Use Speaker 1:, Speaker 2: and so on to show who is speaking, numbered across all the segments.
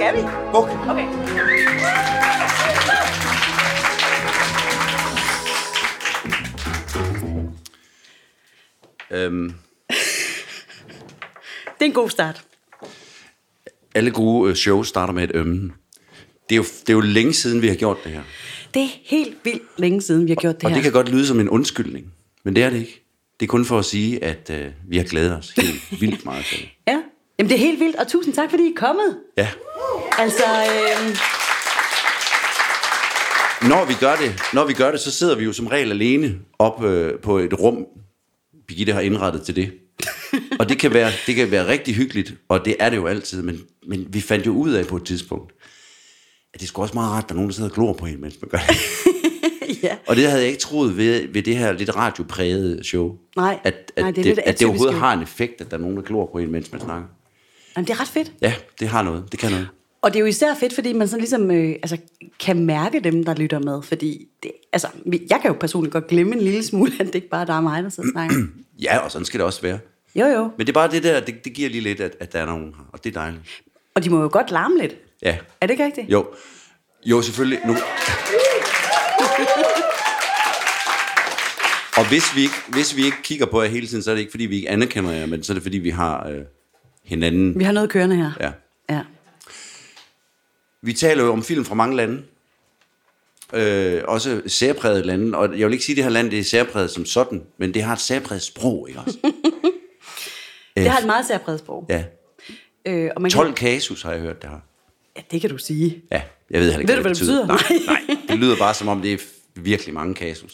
Speaker 1: er vi?
Speaker 2: Buk.
Speaker 1: Okay.
Speaker 2: Øhm,
Speaker 3: Det er en god start.
Speaker 2: alle gode øh, shows starter med et ømme. Det er, jo, det er jo længe siden, vi har gjort det her.
Speaker 3: Det er helt vildt længe siden, vi har gjort det
Speaker 2: Og
Speaker 3: her.
Speaker 2: det kan godt lyde som en undskyldning, men det er det ikke. Det er kun for at sige, at øh, vi har glædet os helt vildt meget til det.
Speaker 3: Ja. Jamen, det er helt vildt, og tusind tak, fordi I er kommet.
Speaker 2: Ja.
Speaker 3: Altså, øhm,
Speaker 2: Når vi gør det, når vi gør det så sidder vi jo som regel alene op øh, på et rum, Birgitte har indrettet til det. Og det kan, være, det kan være rigtig hyggeligt, og det er det jo altid, men, men vi fandt jo ud af på et tidspunkt, at det skulle også meget rart, at der er nogen, der sidder og glor på en, mens man gør det.
Speaker 3: ja.
Speaker 2: Og det havde jeg ikke troet ved, ved det her lidt radioprægede show.
Speaker 3: Nej,
Speaker 2: at, at,
Speaker 3: nej, det er
Speaker 2: det,
Speaker 3: lidt
Speaker 2: at det overhovedet
Speaker 3: atypisk jo.
Speaker 2: har en effekt, at der er nogen, der glor på en, mens man snakker.
Speaker 3: Jamen, det er ret fedt.
Speaker 2: Ja, det har noget. Det kan noget.
Speaker 3: Og det er jo især fedt, fordi man sådan ligesom øh, altså, kan mærke dem, der lytter med. Fordi, det, altså, vi- jeg kan jo personligt godt glemme en lille smule, at det ikke bare er dig og mig, der sidder og snakker.
Speaker 2: Ja, og sådan skal det også være.
Speaker 3: Jo, jo.
Speaker 2: Men det er bare det der, det, det giver lige lidt, at, at der er nogen her, og det er dejligt.
Speaker 3: Og de må jo godt larme lidt.
Speaker 2: Ja,
Speaker 3: Er det ikke rigtigt?
Speaker 2: jo. Jo, selvfølgelig. Nu. Og hvis vi, ikke, hvis vi ikke kigger på jer hele tiden, så er det ikke, fordi vi ikke anerkender jer, men så er det, fordi vi har øh, hinanden.
Speaker 3: Vi har noget kørende her.
Speaker 2: Ja.
Speaker 3: ja.
Speaker 2: Vi taler jo om film fra mange lande. Øh, også særpræget lande. Og jeg vil ikke sige, at det her land det er særpræget som sådan, men det har et særpræget sprog, ikke også?
Speaker 3: Det har et meget særpræget sprog.
Speaker 2: Ja.
Speaker 3: Øh, og man
Speaker 2: 12
Speaker 3: Kan,
Speaker 2: kasus har jeg hørt, det har.
Speaker 3: ja, det kan du sige.
Speaker 2: Ja, jeg ved heller ikke,
Speaker 3: Ved du, hvad det betyder?
Speaker 2: Nej, nej, det lyder bare som om, det er virkelig mange kasus.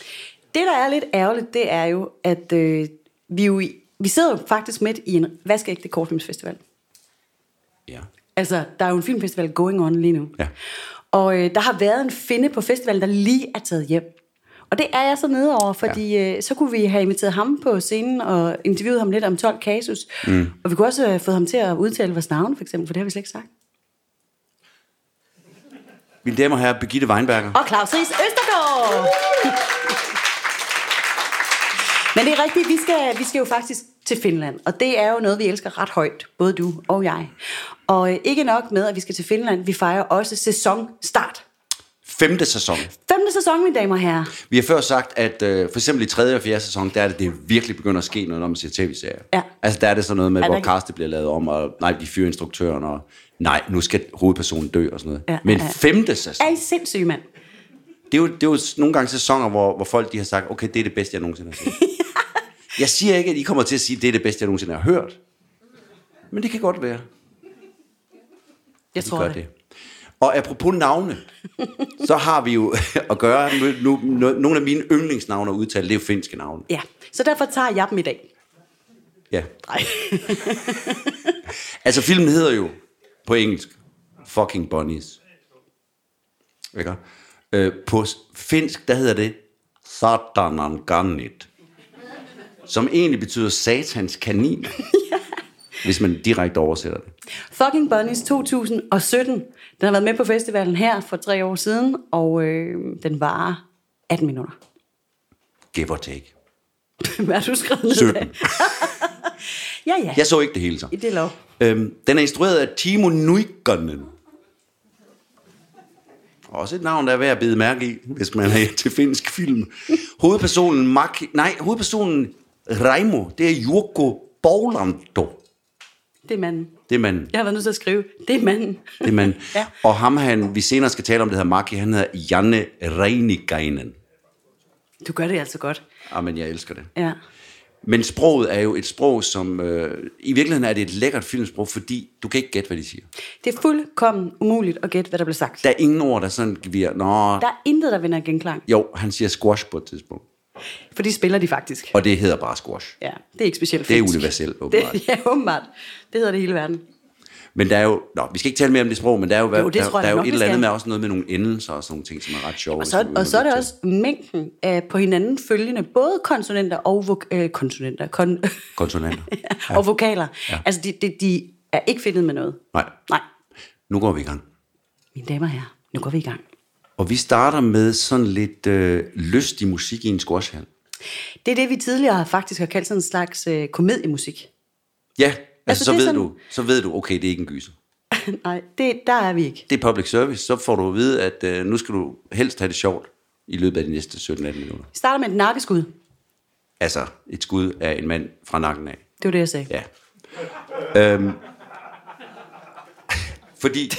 Speaker 3: Det, der er lidt ærgerligt, det er jo, at øh, vi, jo i, vi sidder jo faktisk midt i en vaskeægte kortfilmsfestival.
Speaker 2: Ja.
Speaker 3: Altså, der er jo en filmfestival going on lige nu.
Speaker 2: Ja.
Speaker 3: Og øh, der har været en finde på festivalen, der lige er taget hjem. Og det er jeg så nede over, fordi ja. øh, så kunne vi have inviteret ham på scenen og interviewet ham lidt om 12 kasus. Mm. Og vi kunne også have fået ham til at udtale vores navn, for eksempel, for det har vi slet ikke sagt.
Speaker 2: Mine damer og herrer, Birgitte Weinberger.
Speaker 3: Og Claus Ries Østergaard! Men det er rigtigt, vi skal, vi skal jo faktisk til Finland, og det er jo noget, vi elsker ret højt, både du og jeg. Og øh, ikke nok med, at vi skal til Finland, vi fejrer også sæsonstart.
Speaker 2: Femte sæson.
Speaker 3: Femte sæson, mine damer og herrer.
Speaker 2: Vi har før sagt, at øh, for eksempel i tredje og fjerde sæson, der er det, det virkelig begynder at ske noget, når man ser tv-serier.
Speaker 3: Ja.
Speaker 2: Altså der er det sådan noget med,
Speaker 3: Er der
Speaker 2: hvor
Speaker 3: ikke-
Speaker 2: castet bliver lavet om, og nej, de fyrer instruktøren, og nej, nu skal hovedpersonen dø og sådan noget.
Speaker 3: Ja,
Speaker 2: Men
Speaker 3: ja.
Speaker 2: femte sæson,
Speaker 3: Er I sindssyge, mand?
Speaker 2: det er, jo, det er jo nogle gange sæsoner, hvor, hvor folk de har sagt, okay, det er det bedste, jeg nogensinde har set. jeg siger ikke, at I kommer til at sige, det er det bedste, jeg nogensinde har hørt. Men det kan godt være.
Speaker 3: Jeg
Speaker 2: Vi
Speaker 3: tror
Speaker 2: gør det. Og apropos navne, så har vi jo at gøre med nu, no, nogle af mine yndlingsnavne at udtale, det er jo finske navne.
Speaker 3: Ja, så derfor tager jeg dem i dag.
Speaker 2: Ja.
Speaker 3: Nej.
Speaker 2: Altså filmen hedder jo på engelsk, Fucking Bunnies. Ikke? Øh, på s- finsk, der hedder det Satanan Ganit. Som egentlig betyder satans kanin. Hvis man direkte oversætter det.
Speaker 3: Fucking Bunnies 2017. Den har været med på festivalen her for tre år siden, og øh, den varer 18 minutter.
Speaker 2: Give or take.
Speaker 3: Hvad har du skrevet ned?
Speaker 2: 17.
Speaker 3: Ja, ja.
Speaker 2: Jeg så ikke det hele så.
Speaker 3: I det er lov.
Speaker 2: Øhm, den er instrueret af Timo Nuikkonen. Også et navn, der er værd at bide mærke i, hvis man er til finsk film. Hovedpersonen Mark... Nej, hovedpersonen Raimo, det er Jurko Borlando.
Speaker 3: Det er manden.
Speaker 2: Det er manden.
Speaker 3: Jeg har været nødt til at skrive, det er manden.
Speaker 2: Det er manden.
Speaker 3: Ja.
Speaker 2: Og ham, han, vi senere skal tale om, det hedder Maki, han hedder Janne Reinikainen.
Speaker 3: Du gør det altså godt.
Speaker 2: Jamen, jeg elsker det.
Speaker 3: Ja.
Speaker 2: Men sproget er jo et sprog, som... Øh, I virkeligheden er det et lækkert filmsprog, fordi du kan ikke gætte, hvad de siger.
Speaker 3: Det er fuldkommen umuligt at gætte, hvad der bliver sagt.
Speaker 2: Der er ingen ord, der sådan bliver... Nå,
Speaker 3: Der er intet, der vinder genklang,
Speaker 2: Jo, han siger squash på et tidspunkt.
Speaker 3: for de spiller de faktisk.
Speaker 2: Og det hedder bare squash.
Speaker 3: Ja, det er ikke specielt
Speaker 2: Det er
Speaker 3: finsk.
Speaker 2: universelt, åbenbart.
Speaker 3: Det, ja, åbenbart. Det hedder det hele verden.
Speaker 2: Men der er jo... Nå, vi skal ikke tale mere om det sprog, men der er jo,
Speaker 3: Jo, det
Speaker 2: der,
Speaker 3: tror jeg
Speaker 2: der er jo
Speaker 3: nok,
Speaker 2: et
Speaker 3: vi
Speaker 2: eller andet
Speaker 3: skal.
Speaker 2: med også noget med nogle endelser og sådan nogle ting, som er ret sjove.
Speaker 3: Og
Speaker 2: som
Speaker 3: så,
Speaker 2: vi
Speaker 3: og så er det
Speaker 2: udnytter.
Speaker 3: også mængden af på hinanden følgende, både konsonanter og, vok- øh, konsonanter, kon-
Speaker 2: Konsonanter.
Speaker 3: ja. og vokaler. Ja. Altså, de, de, de er ikke fedtet med noget.
Speaker 2: Nej,
Speaker 3: Nej,
Speaker 2: nu går vi i gang.
Speaker 3: mine damer og herrer, nu går vi i gang.
Speaker 2: Og vi starter med sådan lidt øh, lystig musik i en squashhal.
Speaker 3: Det er det, vi tidligere faktisk har kaldt sådan en slags øh, komediemusik.
Speaker 2: Ja, altså, altså så
Speaker 3: det
Speaker 2: ved
Speaker 3: er sådan-
Speaker 2: du, så ved du, okay, det er ikke en gyser.
Speaker 3: Nej, det, der er vi ikke.
Speaker 2: Det er public service. Så får du at vide, at øh, nu skal du helst have det sjovt i løbet af de næste 17-18 minutter.
Speaker 3: Vi starter med et nakkeskud.
Speaker 2: Altså et skud af en mand fra nakken af.
Speaker 3: Det var det, jeg sagde.
Speaker 2: Ja. Øhm. Fordi,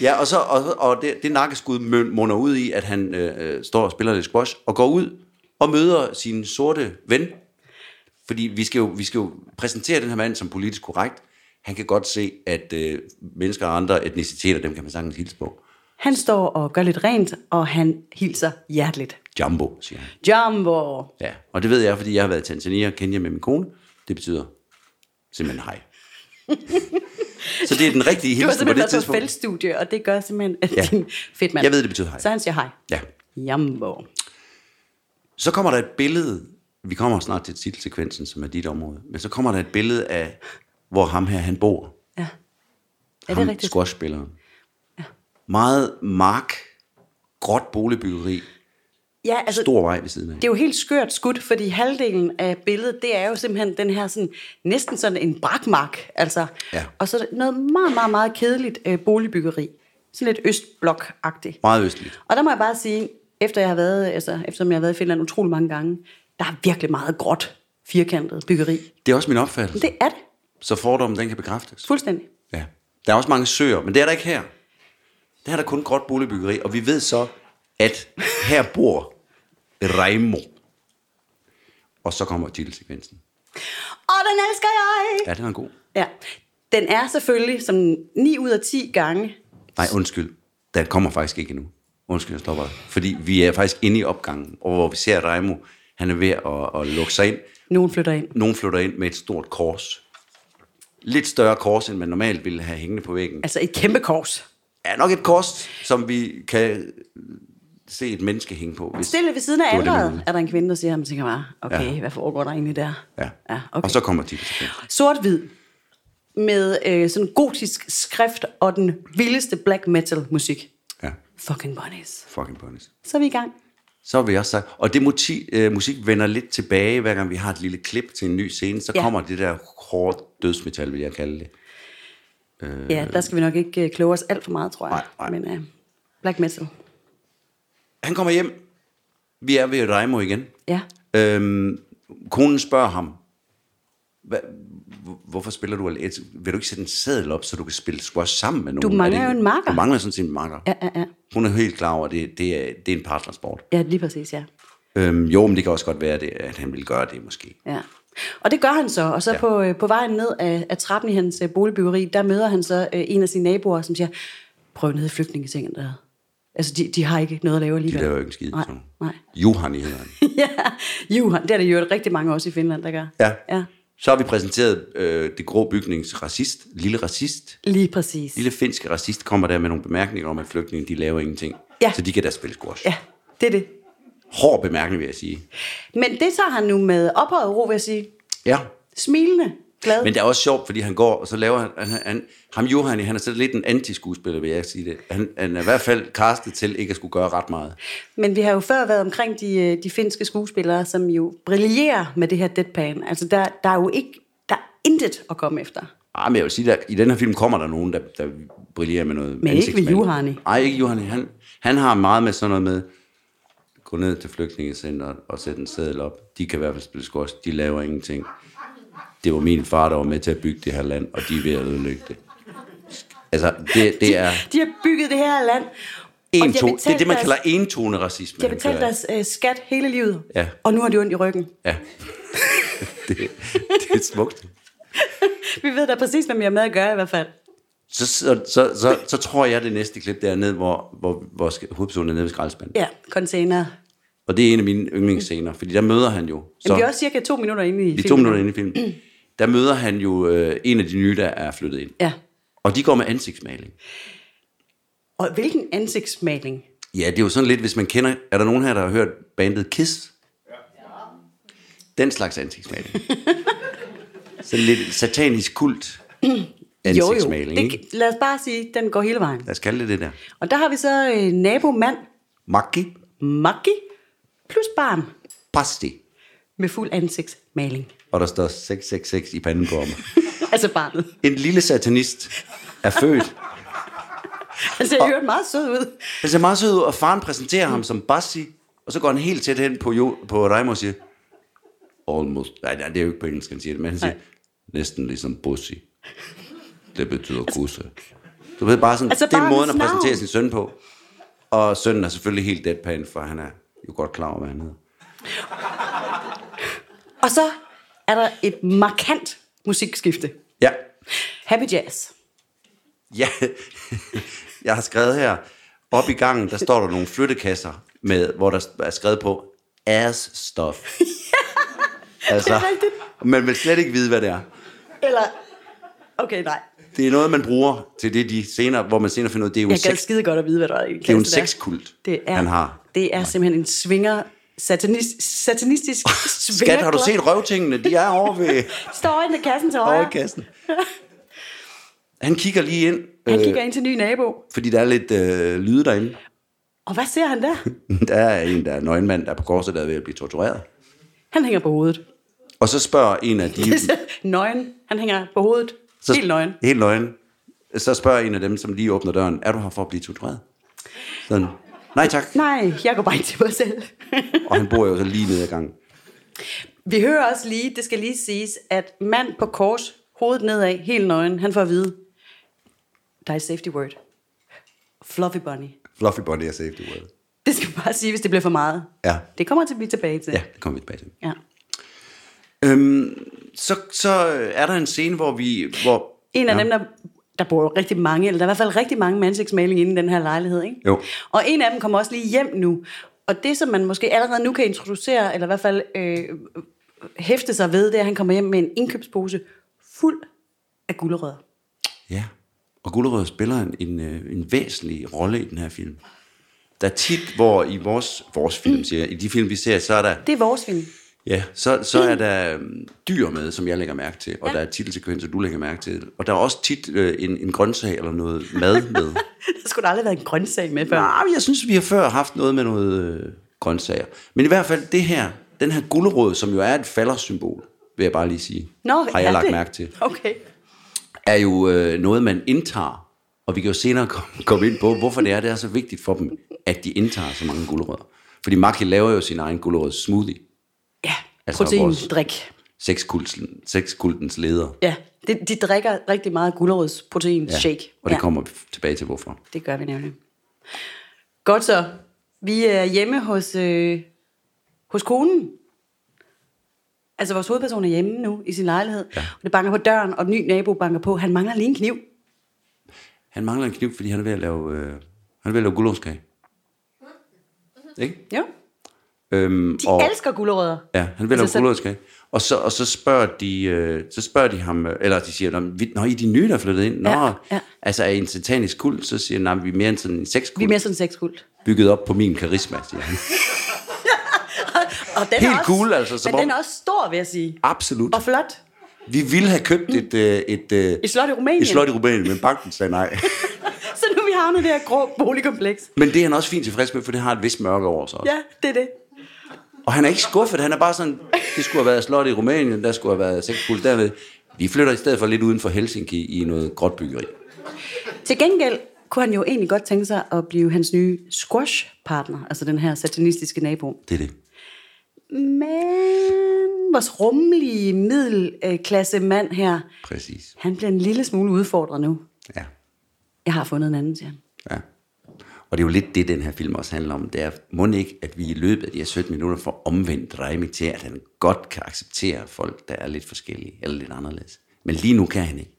Speaker 2: ja, og, så, og, og det, det nakkeskud møn- munder ud i, at han øh, øh, står og spiller lidt squash, og går ud og møder sin sorte ven. Fordi vi skal, jo, vi skal jo præsentere den her mand som politisk korrekt. Han kan godt se, at øh, mennesker af andre etniciteter, dem kan man sagtens hilse på.
Speaker 3: Han står og gør lidt rent, og han hilser hjerteligt.
Speaker 2: Jumbo, siger han.
Speaker 3: Jumbo!
Speaker 2: Ja, og det ved jeg, fordi jeg har været i Tanzania og Kenya med min kone. Det betyder simpelthen hej. så det er den rigtige
Speaker 3: Du
Speaker 2: hilsen
Speaker 3: har
Speaker 2: på det
Speaker 3: simpelthen været på et
Speaker 2: tidspunkt.
Speaker 3: feltstudie, og det gør simpelthen at
Speaker 2: Ja.
Speaker 3: ja. din fedt mand.
Speaker 2: Jeg ved, det betyder hej.
Speaker 3: Så han siger hej.
Speaker 2: Ja.
Speaker 3: Jumbo.
Speaker 2: Så kommer der et billede, vi kommer snart til titelsekvensen, som er dit område, men så kommer der et billede af, hvor ham her, han bor.
Speaker 3: Ja. Er det
Speaker 2: ham,
Speaker 3: rigtigt?
Speaker 2: squashspilleren. Ja. Meget mark, gråt boligbyggeri,
Speaker 3: Ja, altså,
Speaker 2: stor vej ved siden af.
Speaker 3: det er jo helt skørt skudt, fordi halvdelen af billedet, det er jo simpelthen den her sådan, næsten sådan en brakmark. Altså.
Speaker 2: Ja.
Speaker 3: Og så noget meget, meget, meget kedeligt øh, boligbyggeri. Sådan lidt østblok-agtigt.
Speaker 2: Meget østligt.
Speaker 3: Og der må jeg bare sige, efter jeg har været, altså, eftersom jeg har været i Finland utrolig mange gange, der er virkelig meget gråt, firkantet byggeri.
Speaker 2: Det er også min opfattelse.
Speaker 3: Det er det.
Speaker 2: Så fordommen, den kan bekræftes.
Speaker 3: Fuldstændig.
Speaker 2: Ja. Der er også mange søer, men det er der ikke her. Der er der kun gråt boligbyggeri, og vi ved så, at her bor Raimo. Og så kommer titelsekvensen.
Speaker 3: Og den elsker jeg!
Speaker 2: Ja, den er god.
Speaker 3: Ja. Den er selvfølgelig som 9 ud af 10 gange.
Speaker 2: Nej, undskyld. Den kommer faktisk ikke endnu. Undskyld, jeg stopper dig. Fordi vi er faktisk inde i opgangen, og hvor vi ser Raimo, han er ved at, at lukke sig ind.
Speaker 3: Nogen flytter ind.
Speaker 2: Nogen flytter ind med et stort kors. Lidt større kors, end man normalt ville have hængende på væggen.
Speaker 3: Altså et kæmpe kors.
Speaker 2: Er nok et kors, som vi kan se et menneske hænge på. Hvis...
Speaker 3: Stille ved siden af
Speaker 2: Det var det, man
Speaker 3: alderet
Speaker 2: ville.
Speaker 3: er der en kvinde, der siger, at man tænker bare, okay,
Speaker 2: Ja.
Speaker 3: ja. hvad foregår der egentlig der?
Speaker 2: Ja.
Speaker 3: ja
Speaker 2: Og
Speaker 3: okay.
Speaker 2: så kommer titelsekvensen.
Speaker 3: Sort-hvid med øh, sådan gotisk skrift og den vildeste black metal musik.
Speaker 2: Ja,
Speaker 3: Fucking bunnies.
Speaker 2: fucking bonus.
Speaker 3: Så er vi i gang.
Speaker 2: Så har vi også sagt, og det moti, øh, musik vender lidt tilbage, hver gang vi har et lille klip til en ny scene, så ja.
Speaker 3: Ja.
Speaker 2: kommer det der hårde dødsmetal, vil jeg kalde det.
Speaker 3: Ja, der skal vi nok ikke øh, kloge os alt for meget, tror jeg.
Speaker 2: Nej, nej.
Speaker 3: Men øh, black metal.
Speaker 2: Han kommer hjem. Vi er ved Reimo igen.
Speaker 3: Ja.
Speaker 2: Øhm, konen spørger ham, Hva, hvor- hvorfor spiller du alene? Vil du ikke sætte en sædel op, så du kan spille squash sammen med nogen? Er
Speaker 3: mangler
Speaker 2: det-
Speaker 3: jo en makker.
Speaker 2: Du mangler sådan set en makker.
Speaker 3: Ja, ja, ja.
Speaker 2: Hun er helt klar over, at det, det, er, det er en partnersport.
Speaker 3: Ja, lige præcis, ja.
Speaker 2: Øhm, jo, men det kan også godt være, det, at han vil gøre det måske.
Speaker 3: Ja. Og det gør han så, og så
Speaker 2: Ja.
Speaker 3: ja. på, øh, på vejen ned af, af trappen i hans øh, boligbyggeri, der møder han så øh, en af sine naboer, som siger, prøv ned i flygtningesengen der. Altså, de, de har ikke noget at lave
Speaker 2: De
Speaker 3: alligevel.
Speaker 2: laver jo ikke en skid.
Speaker 3: Nej,
Speaker 2: sådan nogle.
Speaker 3: nej.
Speaker 2: Juhani hedder han.
Speaker 3: ja, Johan, det er der jo rigtig mange også i Finland, der gør.
Speaker 2: Ja.
Speaker 3: ja.
Speaker 2: Så har vi præsenteret øh, det grå bygnings racist, lille racist.
Speaker 3: Lige præcis.
Speaker 2: Lille finske racist kommer der med nogle bemærkninger om, at flygtninge de laver ingenting.
Speaker 3: Ja.
Speaker 2: Så de kan da spille squash.
Speaker 3: Ja, det er det.
Speaker 2: Hård bemærkning, vil jeg sige.
Speaker 3: Men det tager han nu med ophøjet ro, vil jeg sige.
Speaker 2: Ja.
Speaker 3: Smilende, glad.
Speaker 2: Men det er også sjovt, fordi han går, og så laver han... han, han ham Johan, han er så lidt en antiskuespiller, vil jeg sige det. Han, han er i hvert fald castet til ikke at skulle gøre ret meget.
Speaker 3: Men vi har jo før været omkring de, øh, de finske skuespillere, som jo brillerer med det her deadpan. Altså, der, der er jo ikke, der er intet at komme efter.
Speaker 2: Ah, men jeg vil sige, at i den her film kommer der nogen, der, der brillerer med noget
Speaker 3: ikke ved
Speaker 2: ansigtsmaling.
Speaker 3: Juhani.
Speaker 2: Nej, ikke Juhani. Han, han har meget med sådan noget med, gå ned til flygtningecenteret og sætte en seddel op. De kan i hvert fald spille squash. De laver ingenting. Det var min far, der var med til at bygge det her land, og de er ved at ødelægge det. Altså, det, det er
Speaker 3: De har bygget det her land.
Speaker 2: en
Speaker 3: og de har
Speaker 2: to, det er
Speaker 3: betalt
Speaker 2: det, man
Speaker 3: deres-
Speaker 2: kalder entone racisme.
Speaker 3: De har betalt deres øh, skat hele livet,
Speaker 2: Ja.
Speaker 3: og nu har de ondt i ryggen.
Speaker 2: Ja. det, det er smukt.
Speaker 3: Vi ved da præcis, hvad vi har med at gøre i hvert fald.
Speaker 2: Så, så, så, så, så tror jeg, det næste klip dernede, hvor, hvor, hvor sk- hovedpersonen er nede ved skraldespanden.
Speaker 3: Ja, container.
Speaker 2: Og det er en af mine yndlingsscener, fordi der møder han jo... Så,
Speaker 3: Jamen, vi er også cirka to minutter inde i
Speaker 2: vi er to
Speaker 3: filmen.
Speaker 2: minutter inde i filmen. Der møder han jo øh, en af de nye, der er flyttet ind.
Speaker 3: Ja.
Speaker 2: Og de går med ansigtsmaling.
Speaker 3: Og hvilken ansigtsmaling.
Speaker 2: Ja, det er jo sådan lidt, hvis man kender... Er der nogen her, der har hørt bandet Kiss? Den slags ansigtsmaling. sådan lidt satanisk kult ansigtsmaling, ikke?
Speaker 3: Det, lad os bare sige, den går hele vejen.
Speaker 2: Lad os kalde det det der.
Speaker 3: Og der har vi så øh, nabomand,
Speaker 2: Maggi
Speaker 3: Maggi, plus barn
Speaker 2: Pasti.
Speaker 3: med fuld ansigtsmaling.
Speaker 2: Og der står 666 i panden på ham.
Speaker 3: Altså barnet.
Speaker 2: En lille satanist er født
Speaker 3: Han ser jo Altså, meget sød ud.
Speaker 2: Han ser meget sød ud, og faren præsenterer ham som Bassi, og så går han helt tæt hen på, jo, på Raimo og siger, almost, nej, nej, det er jo ikke på engelsk, han siger det, men han siger, nej. næsten ligesom Bussi. Det betyder kusse. Du ved bare sådan,
Speaker 3: Altså
Speaker 2: altså, det er
Speaker 3: barnets
Speaker 2: måden at
Speaker 3: navn.
Speaker 2: præsentere sin søn på. Og sønnen er selvfølgelig helt deadpan, for han er jo godt klar over, hvad han hedder.
Speaker 3: Og så er der et markant musikskifte.
Speaker 2: Ja,
Speaker 3: Happy Jazz.
Speaker 2: ja. jeg har skrevet her, op i gangen, der står der nogle flyttekasser, med, hvor der er skrevet på, ass stuff. altså,
Speaker 3: rigtigt.
Speaker 2: man vil slet ikke vide, hvad det er.
Speaker 3: Eller, okay, nej.
Speaker 2: Det er noget, man bruger til det, de senere, hvor man senere finder ud af, det er jo en
Speaker 3: Jeg gad
Speaker 2: sex,
Speaker 3: skide godt at vide, hvad der er i
Speaker 2: det er jo en
Speaker 3: klassen der.
Speaker 2: sexkult,
Speaker 3: Det er,
Speaker 2: han har.
Speaker 3: Det er simpelthen en svinger, satanist, satanistisk svinger.
Speaker 2: Skat, har du set røvtingene? De er over ved
Speaker 3: Står over i kassen til højre.
Speaker 2: overkassen. Han kigger lige ind,
Speaker 3: Han
Speaker 2: øh,
Speaker 3: kigger ind til en ny nabo.
Speaker 2: fordi der er lidt øh, lyde derinde.
Speaker 3: Og hvad ser han der?
Speaker 2: Der er en, der er en nøgenmand, der er på korset, der er ved at blive tortureret.
Speaker 3: Han hænger på hovedet.
Speaker 2: Og så spørger en af de...
Speaker 3: nøgen. Han hænger på hovedet.
Speaker 2: Så,
Speaker 3: Helt nøgen.
Speaker 2: Helt nøgen. Så spørger en af dem, som lige åbner døren, er du her for at blive tortureret? Sådan, nej tak.
Speaker 3: Nej, jeg går bare ind til mig selv.
Speaker 2: Og han bor jo så lige nede ad gangen.
Speaker 3: Vi hører også lige, det skal lige siges, at mand på kors, hovedet nedad, helt nøgen, han får at vide, der er et safety word. Fluffy bunny.
Speaker 2: Fluffy body er safety word.
Speaker 3: Det skal vi bare sige, hvis det bliver for meget.
Speaker 2: Ja.
Speaker 3: Det kommer til at blive tilbage til.
Speaker 2: Ja, det kommer vi tilbage til.
Speaker 3: ja.
Speaker 2: Så, så øh, er der en scene, hvor vi... Hvor,
Speaker 3: En af ja. dem, der, der bor jo rigtig mange, eller der er i hvert fald rigtig mange mandsigtsmaling inde i den her lejlighed, ikke?
Speaker 2: Jo.
Speaker 3: Og en af dem kommer også lige hjem nu. Og det, som man måske allerede nu kan introducere, eller i hvert fald øh, hæfte sig ved, det er, at han kommer hjem med en indkøbspose fuld af gulerødder.
Speaker 2: Ja, og Gullerød spiller en, en, øh, en væsentlig rolle i den her film. Der er tit, hvor i vores, vores
Speaker 3: Mm.
Speaker 2: film, siger jeg, i de film, vi ser, så er der,
Speaker 3: Det er vores film.
Speaker 2: ja, så, så
Speaker 3: Mm.
Speaker 2: er der øhm, dyr med, som jeg lægger mærke til, og ja. der er titelsekvenser, du lægger mærke til, og der er også tit øh, en, en grøntsag eller noget mad med.
Speaker 3: Der skulle da aldrig have været en grøntsag med før.
Speaker 2: Nej, men jeg synes, vi har før haft noget med noget øh, grøntsager. Men i hvert fald det her, den her gullerod, som jo er et faldersymbol, vil jeg bare lige sige, har jeg
Speaker 3: er
Speaker 2: lagt
Speaker 3: det?
Speaker 2: mærke til.
Speaker 3: Okay.
Speaker 2: er jo øh, noget, man indtager. Og vi kan jo senere komme, komme ind på, hvorfor det er, det er så vigtigt for dem, at de indtager så mange gulerødder. Fordi Maki laver jo sin egen gulerød smoothie.
Speaker 3: Ja,
Speaker 2: Altså
Speaker 3: altså proteindrik.
Speaker 2: Sexkulten, sexkultens leder.
Speaker 3: Ja, de, de drikker rigtig meget gulerodsprotein ja. shake.
Speaker 2: Og det
Speaker 3: ja.
Speaker 2: kommer vi tilbage til, hvorfor.
Speaker 3: Det gør vi nemlig. Godt så. Vi er hjemme hos, øh, hos konen. Altså vores hovedperson er hjemme nu i sin lejlighed. Ja. Og det banker på døren, og den nye nabo banker på. Han mangler lige en kniv.
Speaker 2: Han mangler en kniv, fordi han er ved at lave, øh, han er ved at lave gulerødskage. Ikke?
Speaker 3: Jo.
Speaker 2: Øhm,
Speaker 3: Hm? De og... elsker gulerødder.
Speaker 2: Ja, han vil
Speaker 3: Altså,
Speaker 2: altså,
Speaker 3: så-
Speaker 2: have gulerødskage. Og så, og så, spørger de, øh, så spørger de ham, øh, eller de siger, "Nå, men vi- Nå, I er de nye, der er flyttet ind. Nå,
Speaker 3: Ja, ja.
Speaker 2: altså er I en satanisk kult? Så siger han, nej, vi er mere end sådan en sexkult.
Speaker 3: Vi er mere sådan en sexkult.
Speaker 2: bygget op på min karisma, siger han.
Speaker 3: Og den
Speaker 2: Helt
Speaker 3: er også,
Speaker 2: cool, altså, som
Speaker 3: Men
Speaker 2: om-
Speaker 3: den er også stor, vil jeg sige.
Speaker 2: Absolut.
Speaker 3: Og flot.
Speaker 2: Vi ville have købt et, øh, et, øh,
Speaker 3: Et slot i Rumænien.
Speaker 2: et slot i Rumænien, men banken sagde nej.
Speaker 3: Så nu er vi havnet i det her grå boligkompleks.
Speaker 2: Men det er han også fint tilfreds med, for det har et vist mørke over sig. Ja.
Speaker 3: Ja, det er det.
Speaker 2: Og han er ikke skuffet, han er bare sådan, det skulle have været et slot i Rumænien, der skulle have været sexkult derved. Vi flytter i stedet for lidt uden for Helsinki i noget gråt byggeri.
Speaker 3: Til gengæld kunne han jo egentlig godt tænke sig at blive hans nye squash-partner, altså den her satanistiske nabo.
Speaker 2: Det er det.
Speaker 3: Men vores rummelige middelklasse mand her,
Speaker 2: Præcis.
Speaker 3: han bliver en lille smule udfordret nu.
Speaker 2: Ja.
Speaker 3: Jeg har fundet en anden, siger han.
Speaker 2: ja. Og det er jo lidt det, den her film også handler om. Det er, må ikke, at vi i løbet af de her 17 minutter får omvendt Raimi til, at han godt kan acceptere folk, der er lidt forskellige eller lidt anderledes. Men lige nu kan han ikke.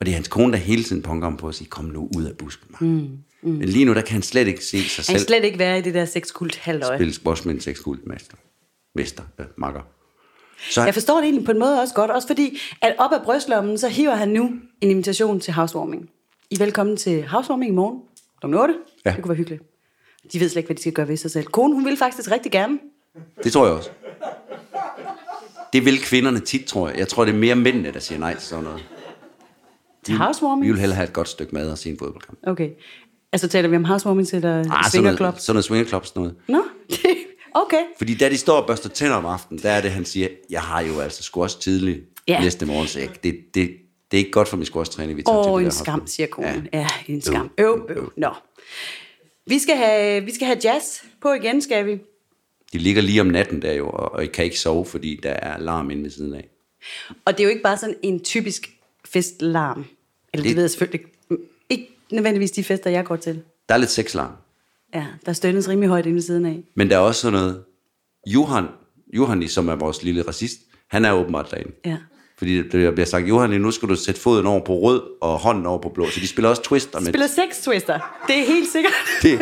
Speaker 2: Og det er hans kone, der hele tiden punker ham på at sige, kom nu ud af busken. Mm, mm. Men lige nu, der kan han slet ikke se sig
Speaker 3: Han
Speaker 2: selv
Speaker 3: kan slet ikke være i det der sexkult halvøje.
Speaker 2: spille squash med en sexguldmester. Mester, øh, makker. Så
Speaker 3: Jeg forstår det egentlig på en måde også godt, også fordi, at op ad brystlommen, så hiver han nu en invitation til housewarming. I er velkommen til housewarming i morgen kl. 8.
Speaker 2: Ja.
Speaker 3: Det kunne være hyggeligt. De ved slet ikke, hvad de skal gøre ved sig selv. Konen, hun vil faktisk rigtig gerne.
Speaker 2: det tror jeg også. Det vil kvinderne tit, tror jeg. Jeg tror, det er mere mændene, der siger nej til sådan noget.
Speaker 3: Til housewarming?
Speaker 2: Vi vil hellere have et godt stykke mad og se en fodboldkamp.
Speaker 3: Okay. Altså taler vi om housewarming eller
Speaker 2: Ah, sådan
Speaker 3: svingerklub?
Speaker 2: noget, sådan noget swingerclub, sådan noget.
Speaker 3: Nå, det- okay.
Speaker 2: Fordi da de står og børster tænder om aftenen, der er det, han siger, jeg har jo altså squash tidligt
Speaker 3: Ja.
Speaker 2: næste morgen, så jeg, det, det, Det er ikke godt for min squash-træning, vi tager til
Speaker 3: Åh,
Speaker 2: det
Speaker 3: en
Speaker 2: der
Speaker 3: skam,
Speaker 2: hofte.
Speaker 3: siger konen. Ja, ja en skam.
Speaker 2: Øv,
Speaker 3: Øv, øv. Nå. Vi skal, have, vi skal have jazz på igen, skal vi?
Speaker 2: De ligger lige om natten der jo, og, og I kan ikke sove, fordi der er alarm inde ved siden af.
Speaker 3: Og det er jo ikke bare sådan en typisk festlarm. Eller det, det
Speaker 2: Det-
Speaker 3: ved jeg selvfølgelig ikke. Ikke nødvendigvis de fester, jeg går til.
Speaker 2: Der er lidt sexlarm.
Speaker 3: Ja, der stønnes rimelig højt inde ved siden af.
Speaker 2: Men der er også sådan noget... Johan, Johan som er vores lille racist, han er åbenbart derinde.
Speaker 3: Ja.
Speaker 2: Fordi der bliver sagt, Johan, nu skal du sætte foden over på rød og hånden over på blå. Så de spiller også twister med.
Speaker 3: Spiller sex twister. Det er helt sikkert.
Speaker 2: Det,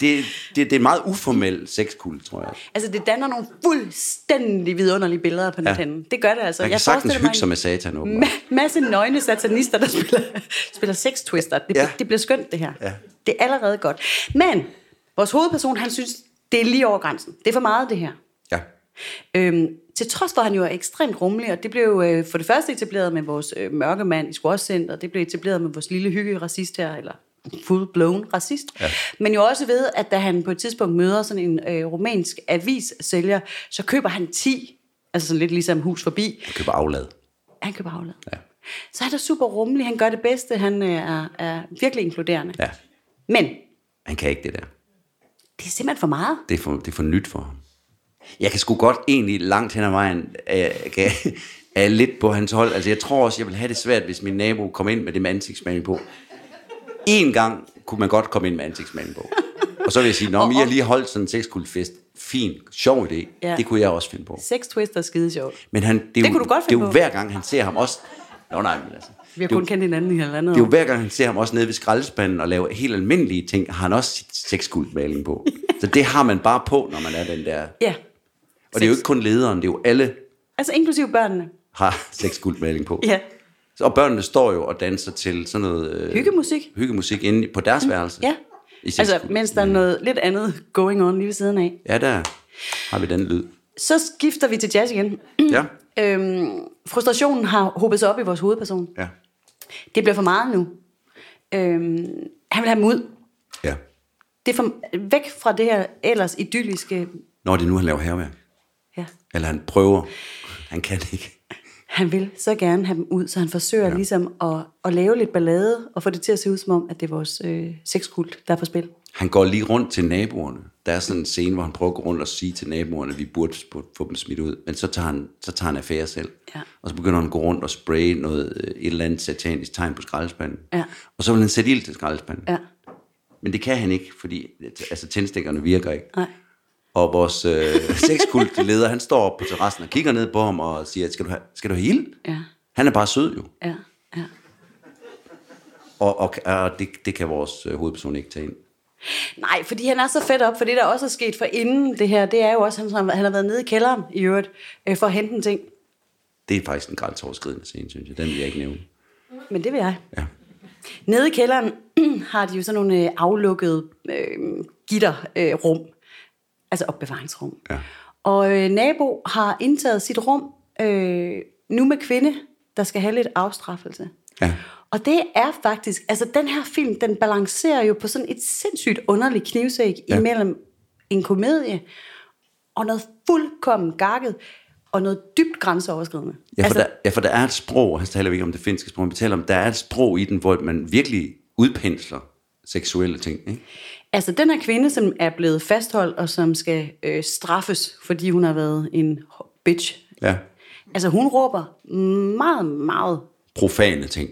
Speaker 2: det, det, det er en meget uformel sexkul, tror jeg.
Speaker 3: Altså, det danner nogle fuldstændig vidunderlige billeder på nethinden. Det gør det altså.
Speaker 2: Man kan sagtens hygge sig med satan, åbenbart.
Speaker 3: Ma- masse nøgne satanister, der spiller, spiller sex twister. Det, ja.
Speaker 2: Ja.
Speaker 3: det bliver skønt, det her.
Speaker 2: Ja.
Speaker 3: Det er allerede godt. Men vores hovedperson, han synes, det er lige over grænsen. Det er for meget, det her.
Speaker 2: Ja.
Speaker 3: Øhm, til trods for, at han jo er ekstremt rummelig, og det blev øh, for det første etableret med vores øh, mørke mand i squashcenter, det blev etableret med vores lille hygge racist her, eller full-blown racist, ja. men jo også ved, at da han på et tidspunkt møder sådan en øh, rumænsk avissælger, så køber han 10, altså sådan lidt ligesom hus forbi,
Speaker 2: Jeg køber aflad.
Speaker 3: han køber aflad.
Speaker 2: Ja.
Speaker 3: Så han er super rummelig, han gør det bedste, han øh, er, er virkelig inkluderende.
Speaker 2: Ja.
Speaker 3: Men
Speaker 2: Han kan ikke det der.
Speaker 3: det er simpelthen for meget.
Speaker 2: Det er for, det er for nyt for ham. Jeg kan sgu godt egentlig langt hen ad vejen øh, kan, er lidt på hans hold. Altså jeg tror også, jeg vil have det svært, hvis min nabo kom ind med det med ansigtsmaling på. En gang kunne man godt komme ind med ansigtsmaling på. Og så vil jeg sige, når I har lige holdt sådan en sexkultfest. Fint, sjov idé.
Speaker 3: Ja.
Speaker 2: Ja. Det kunne jeg også finde på.
Speaker 3: Sex twister er skide sjovt.
Speaker 2: Men han, det, er
Speaker 3: Det
Speaker 2: jo,
Speaker 3: kunne du godt
Speaker 2: det er
Speaker 3: finde
Speaker 2: jo
Speaker 3: på.
Speaker 2: hver gang, han ser ham også... Nå nej, men altså...
Speaker 3: Vi har
Speaker 2: det er jo-
Speaker 3: kun kendt hinanden i halvandet
Speaker 2: det er jo
Speaker 3: år.
Speaker 2: hver gang, han ser ham også nede ved skraldespanden og laver helt almindelige ting, har han også sit sexguldmaling på. Så det har man bare på, når man er den der.
Speaker 3: Ja,
Speaker 2: Og det er jo ikke kun lederen, det er jo alle,
Speaker 3: altså inklusive børnene.
Speaker 2: har sexguldmaling på.
Speaker 3: Ja.
Speaker 2: Og børnene står jo og danser til sådan noget... Øh,
Speaker 3: Hyggemusik. Mm.
Speaker 2: Hyggemusik inde på deres værelse.
Speaker 3: Ja.
Speaker 2: I Mm. sexguld.
Speaker 3: Altså, mens der er noget lidt andet going on lige ved siden af.
Speaker 2: Ja, der har vi den lyd.
Speaker 3: Så skifter vi til jazz igen.
Speaker 2: Ja.
Speaker 3: Øhm, frustrationen har hobet sig op i vores hovedperson.
Speaker 2: Ja.
Speaker 3: Det bliver for meget nu. Øhm, han vil have dem ud.
Speaker 2: ja.
Speaker 3: Det er for, væk fra det her ellers idylliske...
Speaker 2: Når det er nu, han laver herværk.
Speaker 3: Ja.
Speaker 2: Eller han prøver. Han kan ikke.
Speaker 3: Han vil så gerne have dem ud, så han forsøger ja. ligesom at, at lave lidt ballade og få det til at se ud som om, at det er vores øh, sexkult, der er på spil.
Speaker 2: Han går lige rundt til naboerne. Der er sådan en scene, hvor han prøver at gå rundt og sige til naboerne, at vi burde sp- få dem smidt ud. Men så tager han, så tager han affære selv.
Speaker 3: Ja.
Speaker 2: Og så begynder han at gå rundt og spraye noget, øh, et eller andet satanisk tegn på skraldespanden.
Speaker 3: Ja.
Speaker 2: Og så vil han sætte ild til skraldespanden.
Speaker 3: Ja,
Speaker 2: Men det kan han ikke, fordi altså, tændstikkerne virker ikke.
Speaker 3: nej.
Speaker 2: Og vores øh, sexkultleder, han står op på terrassen og kigger ned på ham og siger, skal du have, skal du have ild?
Speaker 3: Ja,
Speaker 2: Han er bare sød jo.
Speaker 3: ja, ja.
Speaker 2: Og, og, og det, det kan vores øh, hovedperson ikke tage ind.
Speaker 3: Nej, fordi han er så fedt op, for det der også er sket for inden det her, det er jo også, at han, han har været nede i kælderen i øvrigt, øh, for at hente en ting.
Speaker 2: Det er faktisk en grænseoverskridende scene, synes jeg. Den vil jeg ikke nævne.
Speaker 3: Men det vil jeg.
Speaker 2: Ja.
Speaker 3: Nede i kælderen har de jo sådan nogle øh, aflukkede øh, gitterrum, øh, rum. altså opbevaringsrum.
Speaker 2: Ja.
Speaker 3: Og øh, nabo har indtaget sit rum øh, nu med kvinde, der skal have lidt afstraffelse.
Speaker 2: Ja.
Speaker 3: Og det er faktisk, altså den her film, den balancerer jo på sådan et sindssygt underligt knivsæk ja.
Speaker 2: Ja.
Speaker 3: imellem en komedie og noget fuldkommen gakket og noget dybt grænseoverskridende.
Speaker 2: Ja, for,
Speaker 3: altså,
Speaker 2: altså, der, ja, for der er et sprog, han taler vi ikke om det finske sprog, vi taler om, der er et sprog i den, hvor man virkelig udpensler seksuelle ting. Ikke?
Speaker 3: altså den her kvinde, som er blevet fastholdt og som skal øh, straffes, fordi hun har været en bitch.
Speaker 2: Ja.
Speaker 3: Altså hun råber meget, meget,
Speaker 2: Profane ting.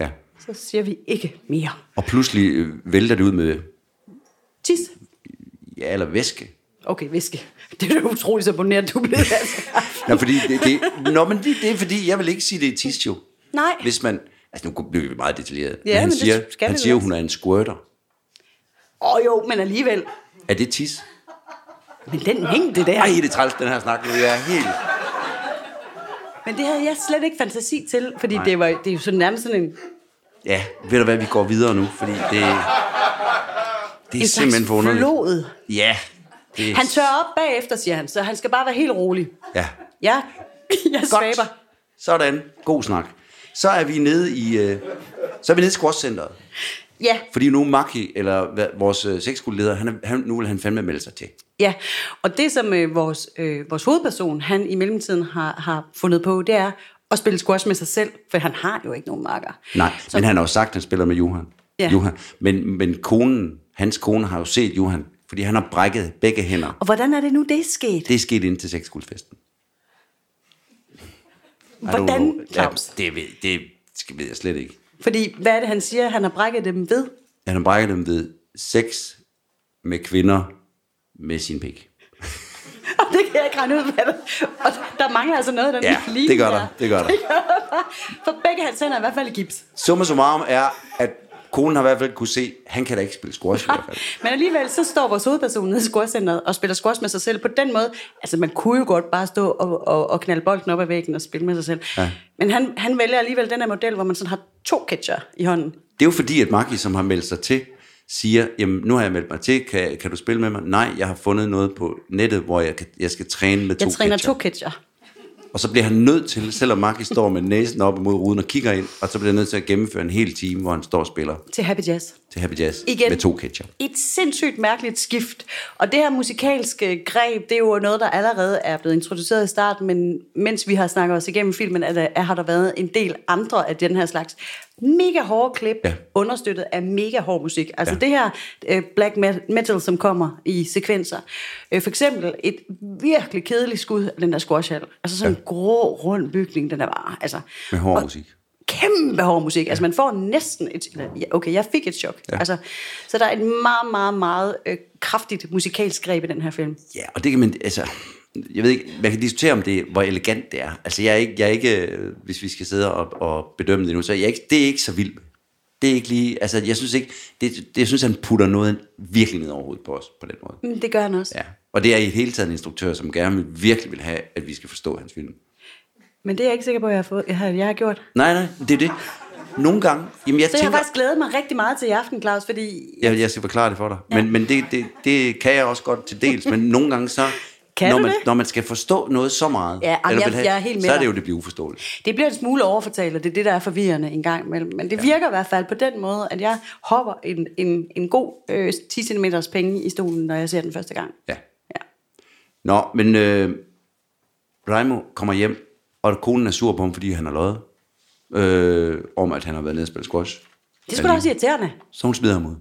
Speaker 2: Ja.
Speaker 3: så siger vi ikke mere.
Speaker 2: Og pludselig øh, vælter det ud med,
Speaker 3: Tis.
Speaker 2: ja, eller væske.
Speaker 3: Okay, viske. Det er da utroligt så boneret, du blev altså.
Speaker 2: Ja, fordi det, det, nå, men det, det er fordi, jeg vil ikke sige, det er tis jo.
Speaker 3: Nej.
Speaker 2: Hvis man, altså nu bliver vi meget detaljeret,
Speaker 3: men
Speaker 2: han
Speaker 3: det
Speaker 2: siger,
Speaker 3: skal
Speaker 2: han
Speaker 3: vi
Speaker 2: siger
Speaker 3: vel
Speaker 2: jo,
Speaker 3: også.
Speaker 2: hun er en squirter.
Speaker 3: Åh oh, jo, men alligevel.
Speaker 2: Er det tis?
Speaker 3: Men den hængte der.
Speaker 2: Ej, det er træls, den her snak nu, jeg er helt...
Speaker 3: Men det havde jeg slet ikke fantasi til, fordi det, var, det er jo sådan nærmest sådan en,
Speaker 2: Ja, ved du hvad, vi går videre nu, fordi det... Det er
Speaker 3: en
Speaker 2: simpelthen
Speaker 3: slags
Speaker 2: for underligt.
Speaker 3: flod.
Speaker 2: Ja. Det,
Speaker 3: Han tør op bagefter, siger han, så han skal bare være helt rolig.
Speaker 2: Ja.
Speaker 3: Ja, jeg svaber.
Speaker 2: Sådan. God snak. Så er vi nede i, øh, så er vi nede i squashcenteret.
Speaker 3: Ja,
Speaker 2: Fordi nu Maki, eller hvad, vores øh, sexskoleleder, han, er- han, nu vil han fandme melde sig til.
Speaker 3: ja. Og det, som øh, vores, øh, vores hovedperson, han i mellemtiden har, har fundet på, det er og spille squash med sig selv, for han har jo ikke nogen marker.
Speaker 2: Nej, så... men han har jo sagt, at han spiller med Johan.
Speaker 3: Ja.
Speaker 2: Johan. Men, men konen, hans kone har jo set Johan, fordi han har brækket begge hænder.
Speaker 3: Og hvordan er det nu, det er sket?
Speaker 2: Det er sket inden til sexguldfesten. I don't
Speaker 3: Hvordan,
Speaker 2: know.
Speaker 3: Claus?
Speaker 2: Ja, det, ved, det skal- ved jeg slet ikke.
Speaker 3: Fordi, hvad er det, han siger, han har brækket dem ved?
Speaker 2: Han har brækket dem ved sex med kvinder med sin pik.
Speaker 3: Og det kan jeg ikke regne ud, hvad det Og der mangler altså noget i den
Speaker 2: Ja,
Speaker 3: linje
Speaker 2: det gør der. Det gør der.
Speaker 3: For begge hans hænder er i hvert fald i gips.
Speaker 2: Summa summarum er, at konen har i hvert fald kunne se, at han kan da ikke spille squash i hvert fald.
Speaker 3: Men alligevel, så står vores hovedperson nede i squashcenteret og spiller squash med sig selv på den måde. Altså, man kunne jo godt bare stå og, og, og knalde bolden op ad væggen og spille med sig selv. Ja. Men han, han vælger alligevel den her model, hvor man sådan har to catcher i hånden.
Speaker 2: Det er jo fordi, at Maki, som har meldt sig til, siger, jamen nu har jeg meldt mig til, kan, kan du spille med mig? Nej, jeg har fundet noget på nettet, hvor jeg, kan, jeg skal træne med
Speaker 3: Jeg
Speaker 2: to
Speaker 3: træner
Speaker 2: catcher.
Speaker 3: to catcher.
Speaker 2: Og så bliver han nødt til, selvom Maki står med næsen op imod ruden og kigger ind, og så bliver han nødt til at gennemføre en hel time, hvor han står og spiller
Speaker 3: Til Happy Jazz.
Speaker 2: til Happy Jazz
Speaker 3: Igen.
Speaker 2: med to catcher.
Speaker 3: Et sindssygt mærkeligt skift. Og det her musikalske greb, det er jo noget, der allerede er blevet introduceret i starten, men mens vi har snakket os igennem filmen, er der, er, har der været en del andre af den her slags mega hårde klip,
Speaker 2: Ja.
Speaker 3: ja. understøttet af mega hård musik. Altså
Speaker 2: Ja.
Speaker 3: ja. det her øh, black me- metal, som kommer i sekvenser. Øh, for eksempel et virkelig kedeligt skud af den der squashhal. Altså sådan ja. en grå, rund bygning, den der var. Altså,
Speaker 2: Med hård
Speaker 3: og-
Speaker 2: musik.
Speaker 3: kæmpe hård musik. Altså, man får næsten et... eller, ja, Okay, jeg fik et chok. Ja. Altså, så der er et meget, meget, meget øh, kraftigt musikalsk greb i den her film.
Speaker 2: Ja, og det kan man, altså, jeg ved ikke, man kan diskutere om det, hvor elegant det er. Altså, jeg er ikke, jeg er ikke øh, hvis vi skal sidde og, og bedømme det nu, så er jeg ikke, det er ikke så vildt. Det er ikke lige, altså, jeg synes ikke, det, det jeg synes, han putter noget virkelig ned over hovedet på os, på den måde.
Speaker 3: Mm, Det gør han også.
Speaker 2: Ja. Og det er i det hele taget en instruktør, som gerne vil, virkelig vil have, at vi skal forstå hans film.
Speaker 3: Men det er jeg ikke sikker på, at jeg har, fået, jeg har, jeg har gjort. Så
Speaker 2: Nej, nej, det er det. Nogle gange, jamen jeg
Speaker 3: jeg
Speaker 2: tænker,
Speaker 3: har faktisk glædet mig rigtig meget til i aften, Claus, fordi...
Speaker 2: jeg, jeg skal forklare det for dig, ja. men, men det, det, det kan jeg også godt til dels, men nogle gange så,
Speaker 3: Kan
Speaker 2: når,
Speaker 3: du
Speaker 2: man,
Speaker 3: det?
Speaker 2: når man skal forstå noget så meget,
Speaker 3: Ja, jamen,
Speaker 2: eller
Speaker 3: jeg-
Speaker 2: vil have,
Speaker 3: jeg er helt med
Speaker 2: så er
Speaker 3: dig.
Speaker 2: det jo, det bliver uforståeligt.
Speaker 3: Det bliver en smule overfortalt, og det er det, der er forvirrende en gang imellem. Men det ja. virker i hvert fald på den måde, at jeg hopper en, en, en god øh, 10 cm penge i stolen, når jeg ser den første gang.
Speaker 2: Ja.
Speaker 3: Ja.
Speaker 2: Nå, men øh, Raimo kommer hjem, og konen er sur på ham, fordi han har løjet øh, om, at han har været nede og spille squash.
Speaker 3: Det er sgu da også irriterende.
Speaker 2: Så hun smider ham ud.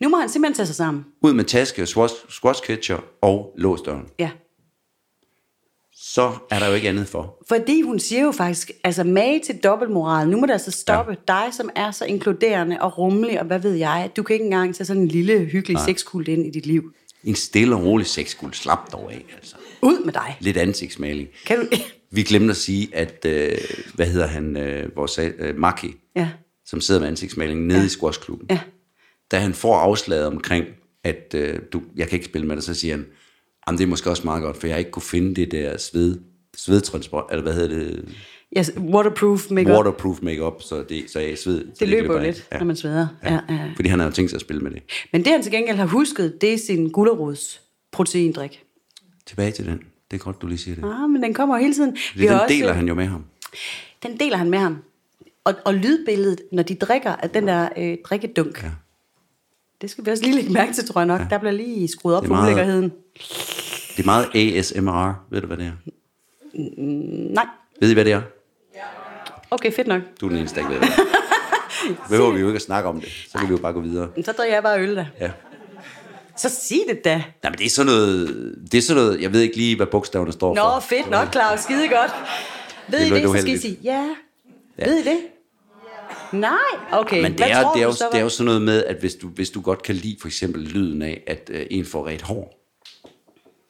Speaker 3: Nu må han simpelthen tage sig sammen.
Speaker 2: Ud med taske, squash, squash catcher og låsdøren.
Speaker 3: Ja.
Speaker 2: Så er der jo ikke andet for.
Speaker 3: Fordi hun siger jo faktisk, altså mage til dobbeltmoral, nu må det altså stoppe ja. dig, som er så inkluderende og rummelig, og hvad ved jeg, du kan ikke engang tage sådan en lille, hyggelig sexkult ind i dit liv.
Speaker 2: En stille og rolig sexskuld slap dog af, altså.
Speaker 3: Ud med dig.
Speaker 2: Lidt ansigtsmaling.
Speaker 3: Kan du...
Speaker 2: Vi glemte at sige, at, øh, hvad hedder han, øh, vores øh, Maki,
Speaker 3: Ja.
Speaker 2: som sidder med ansigtsmaling nede ja. i squashklubben.
Speaker 3: Ja.
Speaker 2: Da han får afslaget omkring, at øh, du, jeg kan ikke spille med dig, så siger han, jamen det er måske også meget godt, for jeg har ikke kunne finde det der sved, svedtransport, eller hvad hedder det,
Speaker 3: Yes, waterproof makeup. Water.
Speaker 2: waterproof makeup, så, det, så jeg sved. så
Speaker 3: Det løber jo
Speaker 2: af."
Speaker 3: lidt, ja.
Speaker 2: Ja.
Speaker 3: når man sveder. Ja. Ja, ja.
Speaker 2: Fordi han har jo tænkt sig at spille med det.
Speaker 3: Men det han til gengæld har husket, det er sin gulerods proteindrik.
Speaker 2: Tilbage til den. Det er godt, du lige siger det.
Speaker 3: Ah, men den kommer jo hele tiden.
Speaker 2: Det den deler han jo med ham.
Speaker 3: den deler han med ham. Og, og lydbilledet, når de drikker, af den der øh, drikkedunk.
Speaker 2: Ja.
Speaker 3: Ja. Det skal vi også lige lægge mærke til, tror jeg nok. Ja. Der bliver lige skruet op
Speaker 2: Det er
Speaker 3: for
Speaker 2: meget-
Speaker 3: ulækkerheden.
Speaker 2: Det er meget ASMR. Ved du, hvad det er?
Speaker 3: Nej.
Speaker 2: Ved I, hvad det er?
Speaker 3: Okay, fedt nok.
Speaker 2: Du er den eneste, der ikke ved det. er. Behøver vi jo ikke at snakke om det. Så kan vi jo bare gå videre.
Speaker 3: Men Så drikker jeg bare øl da.
Speaker 2: Ja.
Speaker 3: Så sig det da.
Speaker 2: Nej, men det er sådan noget... Det er sådan noget jeg ved ikke lige, hvad bogstaverne står
Speaker 3: Nå,
Speaker 2: for.
Speaker 3: fedt nok, Claus. Skide godt. Ved
Speaker 2: Det
Speaker 3: I
Speaker 2: lød
Speaker 3: det, så skal I
Speaker 2: uheldigt.
Speaker 3: sige ja.
Speaker 2: Ja.
Speaker 3: Ved I det? Nej, okay.
Speaker 2: Men det
Speaker 3: Hvad
Speaker 2: er,
Speaker 3: tror
Speaker 2: det, er
Speaker 3: du
Speaker 2: jo,
Speaker 3: så,
Speaker 2: det er jo sådan noget med, at hvis du, hvis du godt kan lide for eksempel lyden af, at øh, en får ret hår,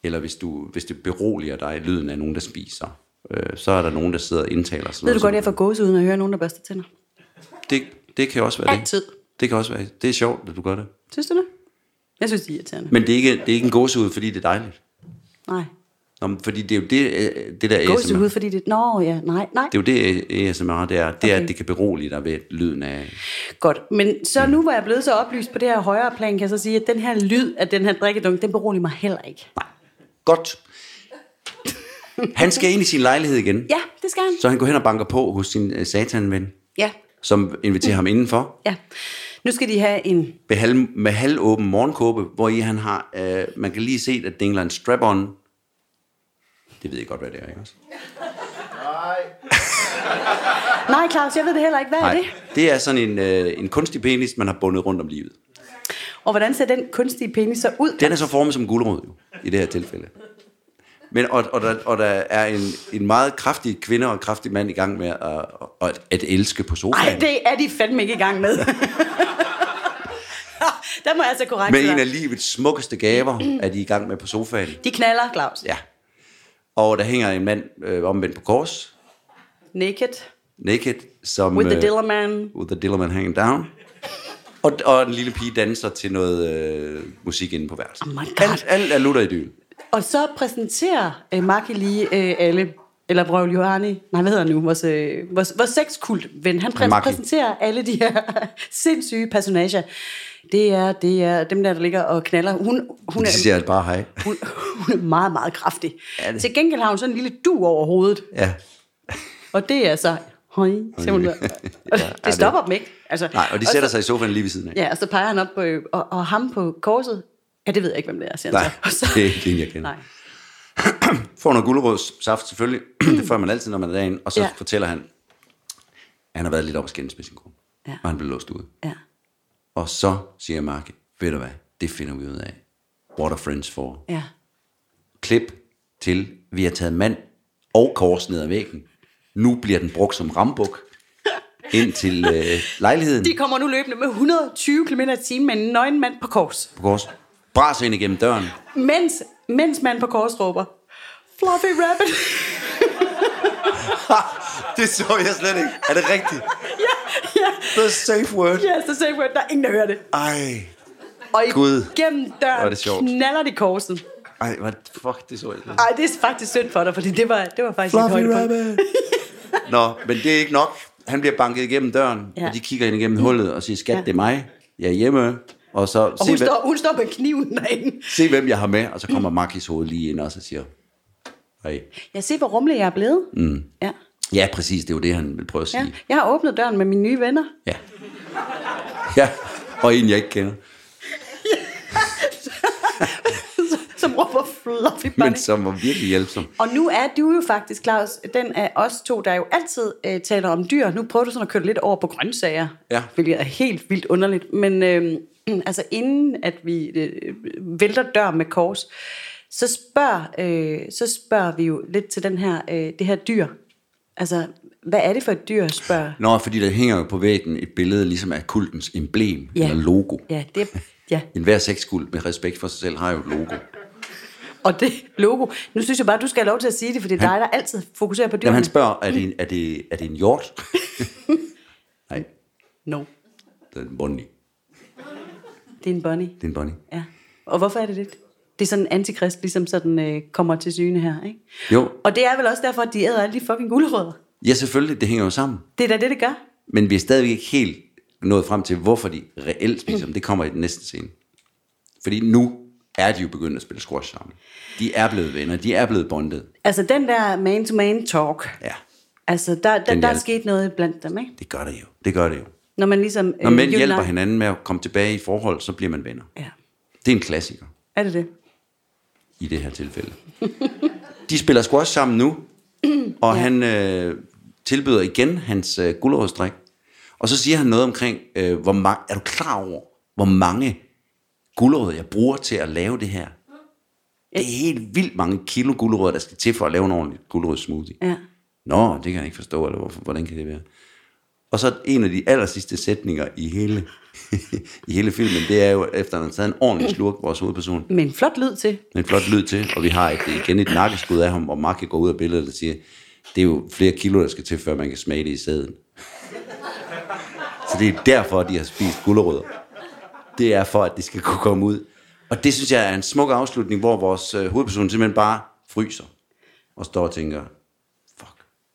Speaker 2: eller hvis, du, hvis det beroliger dig, lyden af nogen, der spiser, øh, så er der nogen, der sidder og indtaler sådan
Speaker 3: Ved du
Speaker 2: noget.
Speaker 3: godt, jeg får gåse uden at høre nogen, der børster tænder?
Speaker 2: det, det kan også være det.
Speaker 3: Altid.
Speaker 2: Det kan også være det. er sjovt, at du gør det.
Speaker 3: Synes du det? Jeg synes, det er irriterende.
Speaker 2: Men det er ikke, det er ikke en gåsehud, fordi det er dejligt.
Speaker 3: Nej.
Speaker 2: Nå, men fordi det er jo det, øh, det der
Speaker 3: Gåse
Speaker 2: ASMR.
Speaker 3: ud, fordi det... Nå, ja, nej, nej.
Speaker 2: Det er jo det, ASMR det er. Det er,
Speaker 3: Okay.
Speaker 2: at det kan berolige dig ved lyden af...
Speaker 3: Godt, men så nu hvor jeg er blevet så oplyst på det her højere plan, kan jeg så sige, at den her lyd af den her drikkedunk, den beroliger mig heller ikke.
Speaker 2: Nej. Godt. Han skal ind i sin lejlighed igen.
Speaker 3: Ja, det skal han.
Speaker 2: Så han går hen og banker på hos sin øh, satanven,
Speaker 3: Ja,
Speaker 2: som inviterer ham indenfor
Speaker 3: ja. Nu skal de have en...
Speaker 2: med, halv, med halvåben morgenkåbe, hvor i han har, øh, man kan lige se, at dingler en strap-on. Det ved jeg godt, hvad det er, ikke også?
Speaker 3: Nej, Claus, jeg ved det heller ikke. Hvad Nej. er det?
Speaker 2: det er sådan en, øh, en kunstig penis, man har bundet rundt om livet.
Speaker 3: Og hvordan ser den kunstige penis så ud?
Speaker 2: Den er så formet som en gulerod, jo, i det her tilfælde. Men, og, og, der, og der er en, en meget kraftig kvinde og en kraftig mand i gang med at, at, at elske på sofaen.
Speaker 3: Nej, det er de fandme ikke i gang med. der må jeg altså korrekt
Speaker 2: Med en af livets smukkeste gaver er de i gang med på sofaen.
Speaker 3: De knaller, Claus.
Speaker 2: Ja. Og der hænger en mand øh, omvendt på kors,
Speaker 3: Naked.
Speaker 2: naked, som...
Speaker 3: With the
Speaker 2: øh,
Speaker 3: Dillerman.
Speaker 2: With the Dillerman hanging down. Og, og den lille pige danser til noget øh, musik inde på værelset.
Speaker 3: Oh my God.
Speaker 2: alt, alt er lutter i dyl.
Speaker 3: Og så præsenterer øh, Maki lige øh, alle, eller Brøl Johani, nej, hvad hedder han nu, vores, øh, vores, vores sexkult ven, han præ-
Speaker 2: Maki.
Speaker 3: præsenterer alle de her sindssyge personager. Det er, det er dem der, der ligger og knaller. Hun, hun,
Speaker 2: De
Speaker 3: er,
Speaker 2: siger bare hej.
Speaker 3: hun, hun er meget, meget kraftig.
Speaker 2: Er det?
Speaker 3: Til gengæld har hun sådan en lille du over hovedet,
Speaker 2: Ja.
Speaker 3: og det er så... Hej, siger hun. Og
Speaker 2: er
Speaker 3: det
Speaker 2: det-
Speaker 3: stopper dem ikke. Altså,
Speaker 2: Nej, og de sætter sig i sofaen lige ved siden af.
Speaker 3: Ja, og så peger han op på, og, og ham på korset. Ja, det ved jeg ikke, hvem det er, siger han
Speaker 2: Nej,
Speaker 3: så. Altså, Og så
Speaker 2: det er ikke en, jeg kender.
Speaker 3: Nej.
Speaker 2: Får noget gulerodssaft selvfølgelig. det får man altid, når man er derinde. Og så
Speaker 3: Ja.
Speaker 2: ja. fortæller han, at han har været lidt op at skændes med sin kone.
Speaker 3: Ja.
Speaker 2: Og han blev låst ude.
Speaker 3: Ja.
Speaker 2: Og så siger Marke, ved du hvad, det finder vi ud af. What are friends for?
Speaker 3: ja.
Speaker 2: Klip til, vi har taget mand og kors ned ad væggen. Nu bliver den brugt som rambuk ind til øh, lejligheden.
Speaker 3: De kommer nu løbende med 120 km i timen med en nøgen mand på kors.
Speaker 2: på kors. Bras ind igennem døren.
Speaker 3: Mens, mens manden på kors råber, Fluffy Rabbit.
Speaker 2: det så jeg slet ikke. Er det rigtigt?
Speaker 3: ja, ja.
Speaker 2: The safe word.
Speaker 3: Yes, the same word. Der er ingen, der hører det.
Speaker 2: Ej.
Speaker 3: Og
Speaker 2: Gud.
Speaker 3: gennem
Speaker 2: Hvor er
Speaker 3: døren
Speaker 2: det sjovt.
Speaker 3: knaller de korsen.
Speaker 2: Ej, hvad fuck, det så jeg slet ikke.
Speaker 3: Ej, det er faktisk synd for dig, fordi det var, det var faktisk et
Speaker 2: Fluffy
Speaker 3: højdepunkt.
Speaker 2: rabbit. Nå, men det er ikke nok. Han bliver banket igennem døren,
Speaker 3: Ja.
Speaker 2: ja. og de kigger ind igennem hullet og siger, skat,
Speaker 3: Ja.
Speaker 2: ja. det er mig. Jeg er hjemme. Og så
Speaker 3: Og
Speaker 2: se,
Speaker 3: hun
Speaker 2: hvem,
Speaker 3: står, hun står med kniven derinde.
Speaker 2: se, hvem jeg har med. Og så kommer Markis hoved lige ind også og siger, hej.
Speaker 3: Jeg ser, hvor rummelig jeg er blevet. Mm. Ja.
Speaker 2: Ja, præcis, det er jo det, han vil prøve at sige.
Speaker 3: ja. Jeg har åbnet døren med mine nye venner.
Speaker 2: Ja. ja. og en, jeg ikke kender.
Speaker 3: som råber Fluffy Bunny.
Speaker 2: Men som var virkelig hjælpsom.
Speaker 3: Og nu er du jo faktisk, Claus, den af os to, der jo altid øh, taler om dyr. Nu prøver du sådan at køre lidt over på grøntsager,
Speaker 2: Ja.
Speaker 3: hvilket er helt vildt underligt. Men øh, altså inden at vi øh, vælter dør med kors, så spørger, øh, så spørger vi jo lidt til den her, øh, det her dyr. Altså, hvad er det for et dyr, spørger
Speaker 2: Nå, fordi der hænger jo på væggen et billede ligesom af kultens emblem
Speaker 3: Ja.
Speaker 2: ja. eller logo.
Speaker 3: Ja, det, ja.
Speaker 2: En hver sexkult med respekt for sig selv har jo et logo.
Speaker 3: og det logo. Nu synes jeg bare, du skal have lov til at sige det, for det er dig, der altid fokuserer på dyrene.
Speaker 2: Jamen, han spørger, er det en, er det, er det en hjort? Nej,
Speaker 3: No,
Speaker 2: det er en bunny.
Speaker 3: det er en bunny.
Speaker 2: Det er en bunny.
Speaker 3: Ja. Og hvorfor er det det? Det er sådan antikrist, ligesom sådan øh, kommer til syne her, ikke?
Speaker 2: Jo,
Speaker 3: Og det er vel også derfor, at de æder alle de fucking gulerødder.
Speaker 2: ja selvfølgelig, det hænger jo sammen.
Speaker 3: Det er da det, det gør.
Speaker 2: Men vi er stadigvæk ikke helt nået frem til, hvorfor de reelt spiser dem. Det kommer i den næste scene. Fordi nu er de jo begyndt at spille squash sammen. De er blevet venner, de er blevet bondet.
Speaker 3: Altså den der man-to-man talk,
Speaker 2: Ja,
Speaker 3: altså der, der,
Speaker 2: Den
Speaker 3: der er
Speaker 2: hjalp.
Speaker 3: sket noget blandt dem, ikke?
Speaker 2: det gør det jo. Det gør det jo.
Speaker 3: Når man ligesom... Øh,
Speaker 2: Når mænd
Speaker 3: unite-
Speaker 2: hjælper hinanden med at komme tilbage i forhold, så bliver man venner.
Speaker 3: Ja,
Speaker 2: Det er en klassiker.
Speaker 3: er det det?
Speaker 2: i det her tilfælde. De spiller squash sammen nu, og ja. han øh, tilbyder igen hans øh, gulerodsdrik. Og så siger han noget omkring, øh, hvor mange, er du klar over, hvor mange gulerødder jeg bruger til at lave det her? Det er helt vildt mange kilo gulerødder, der skal til for at lave en ordentlig gulerødssmoothie.
Speaker 3: Ja.
Speaker 2: Nå, det kan jeg ikke forstå, eller hvorfor, hvordan kan det være? Og så en af de aller sidste sætninger i hele, i hele filmen, det er jo, efter han har taget en ordentlig slurk, vores hovedperson,
Speaker 3: Men flot lyd til.
Speaker 2: med en flot lyd til, og vi har et, igen et nakkeskud af ham, hvor Mark går ud af billedet og siger, det er jo flere kilo, der skal til, før man kan smage det i sæden. Så det er derfor, de har spist gulerødder. Det er for, at det skal kunne komme ud. Og det synes jeg er en smuk afslutning, hvor vores øh, hovedperson simpelthen bare fryser og står og tænker, fuck,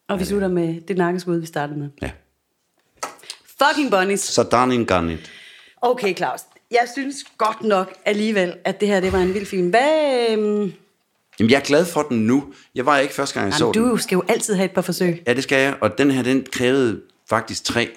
Speaker 3: Og vi slutter med det nakkeskud, vi startede med.
Speaker 2: ja.
Speaker 3: Fucking bunnies.
Speaker 2: Så darning garnet.
Speaker 3: Okay, Claus. Jeg synes godt nok alligevel, at det her det var en vild film. Hvad... Øh,
Speaker 2: Jamen, jeg er glad for den nu. Jeg var ikke første gang, jeg så
Speaker 3: jamen,
Speaker 2: den.
Speaker 3: du skal jo altid have et par forsøg.
Speaker 2: Ja, det skal jeg. Og den her, den krævede faktisk tre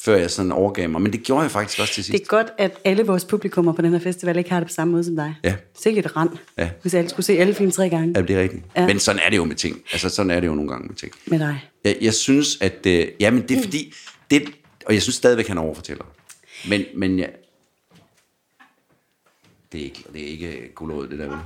Speaker 2: før jeg sådan overgav mig. Men det gjorde jeg faktisk også til sidst.
Speaker 3: Det er godt, at alle vores publikummer på den her festival ikke har det på samme måde som dig.
Speaker 2: Ja.
Speaker 3: Sikkert et rand,
Speaker 2: Ja.
Speaker 3: hvis alle skulle se alle film tre gange
Speaker 2: Ja, det er rigtigt.
Speaker 3: Ja.
Speaker 2: Ja. Men sådan er det jo med ting. Altså, sådan er det jo nogle gange med ting.
Speaker 3: med dig.
Speaker 2: Jeg, jeg synes, at... Øh, jamen,
Speaker 3: Mm.
Speaker 2: det er fordi... Det, og jeg synes stadigvæk, han overfortæller. Men, men jeg... Det er ikke, det er ikke gulerod, det der. vel?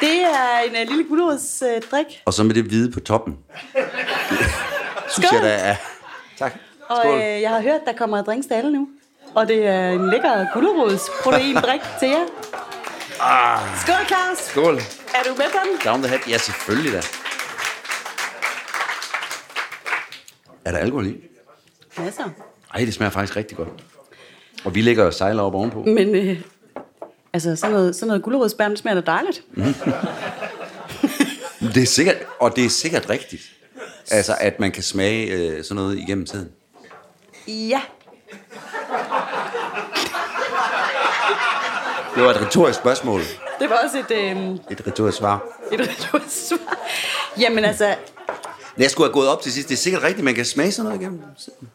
Speaker 3: Det er en uh, lille gulerods uh, drik.
Speaker 2: Og så med det hvide på toppen. Synes jeg, der er... Tak.
Speaker 3: Og
Speaker 2: Skål.
Speaker 3: øh, jeg har hørt, der kommer drinks til alle nu. Og det er en lækker gulerods proteindrik til jer. Ah. Skål, Claus.
Speaker 2: Skål.
Speaker 3: Er du med på den?
Speaker 2: Down the hat. Ja, selvfølgelig da. Er der alkohol i?
Speaker 3: Ja, så.
Speaker 2: Ej, det smager faktisk rigtig godt. Og vi ligger og sejler op ovenpå.
Speaker 3: Men øh, altså, sådan noget, sådan noget gulerodsbær, det smager da dejligt.
Speaker 2: Det er sikkert, og det er sikkert rigtigt. Altså, at man kan smage øh, sådan noget igennem tiden.
Speaker 3: Ja.
Speaker 2: Det var et retorisk spørgsmål.
Speaker 3: Det var også et, øh,
Speaker 2: Et retorisk svar.
Speaker 3: et retorisk svar. Jamen altså,
Speaker 2: Men Jeg skulle have gået op til sidst. Det er sikkert rigtigt, man kan smage sådan noget igennem tiden.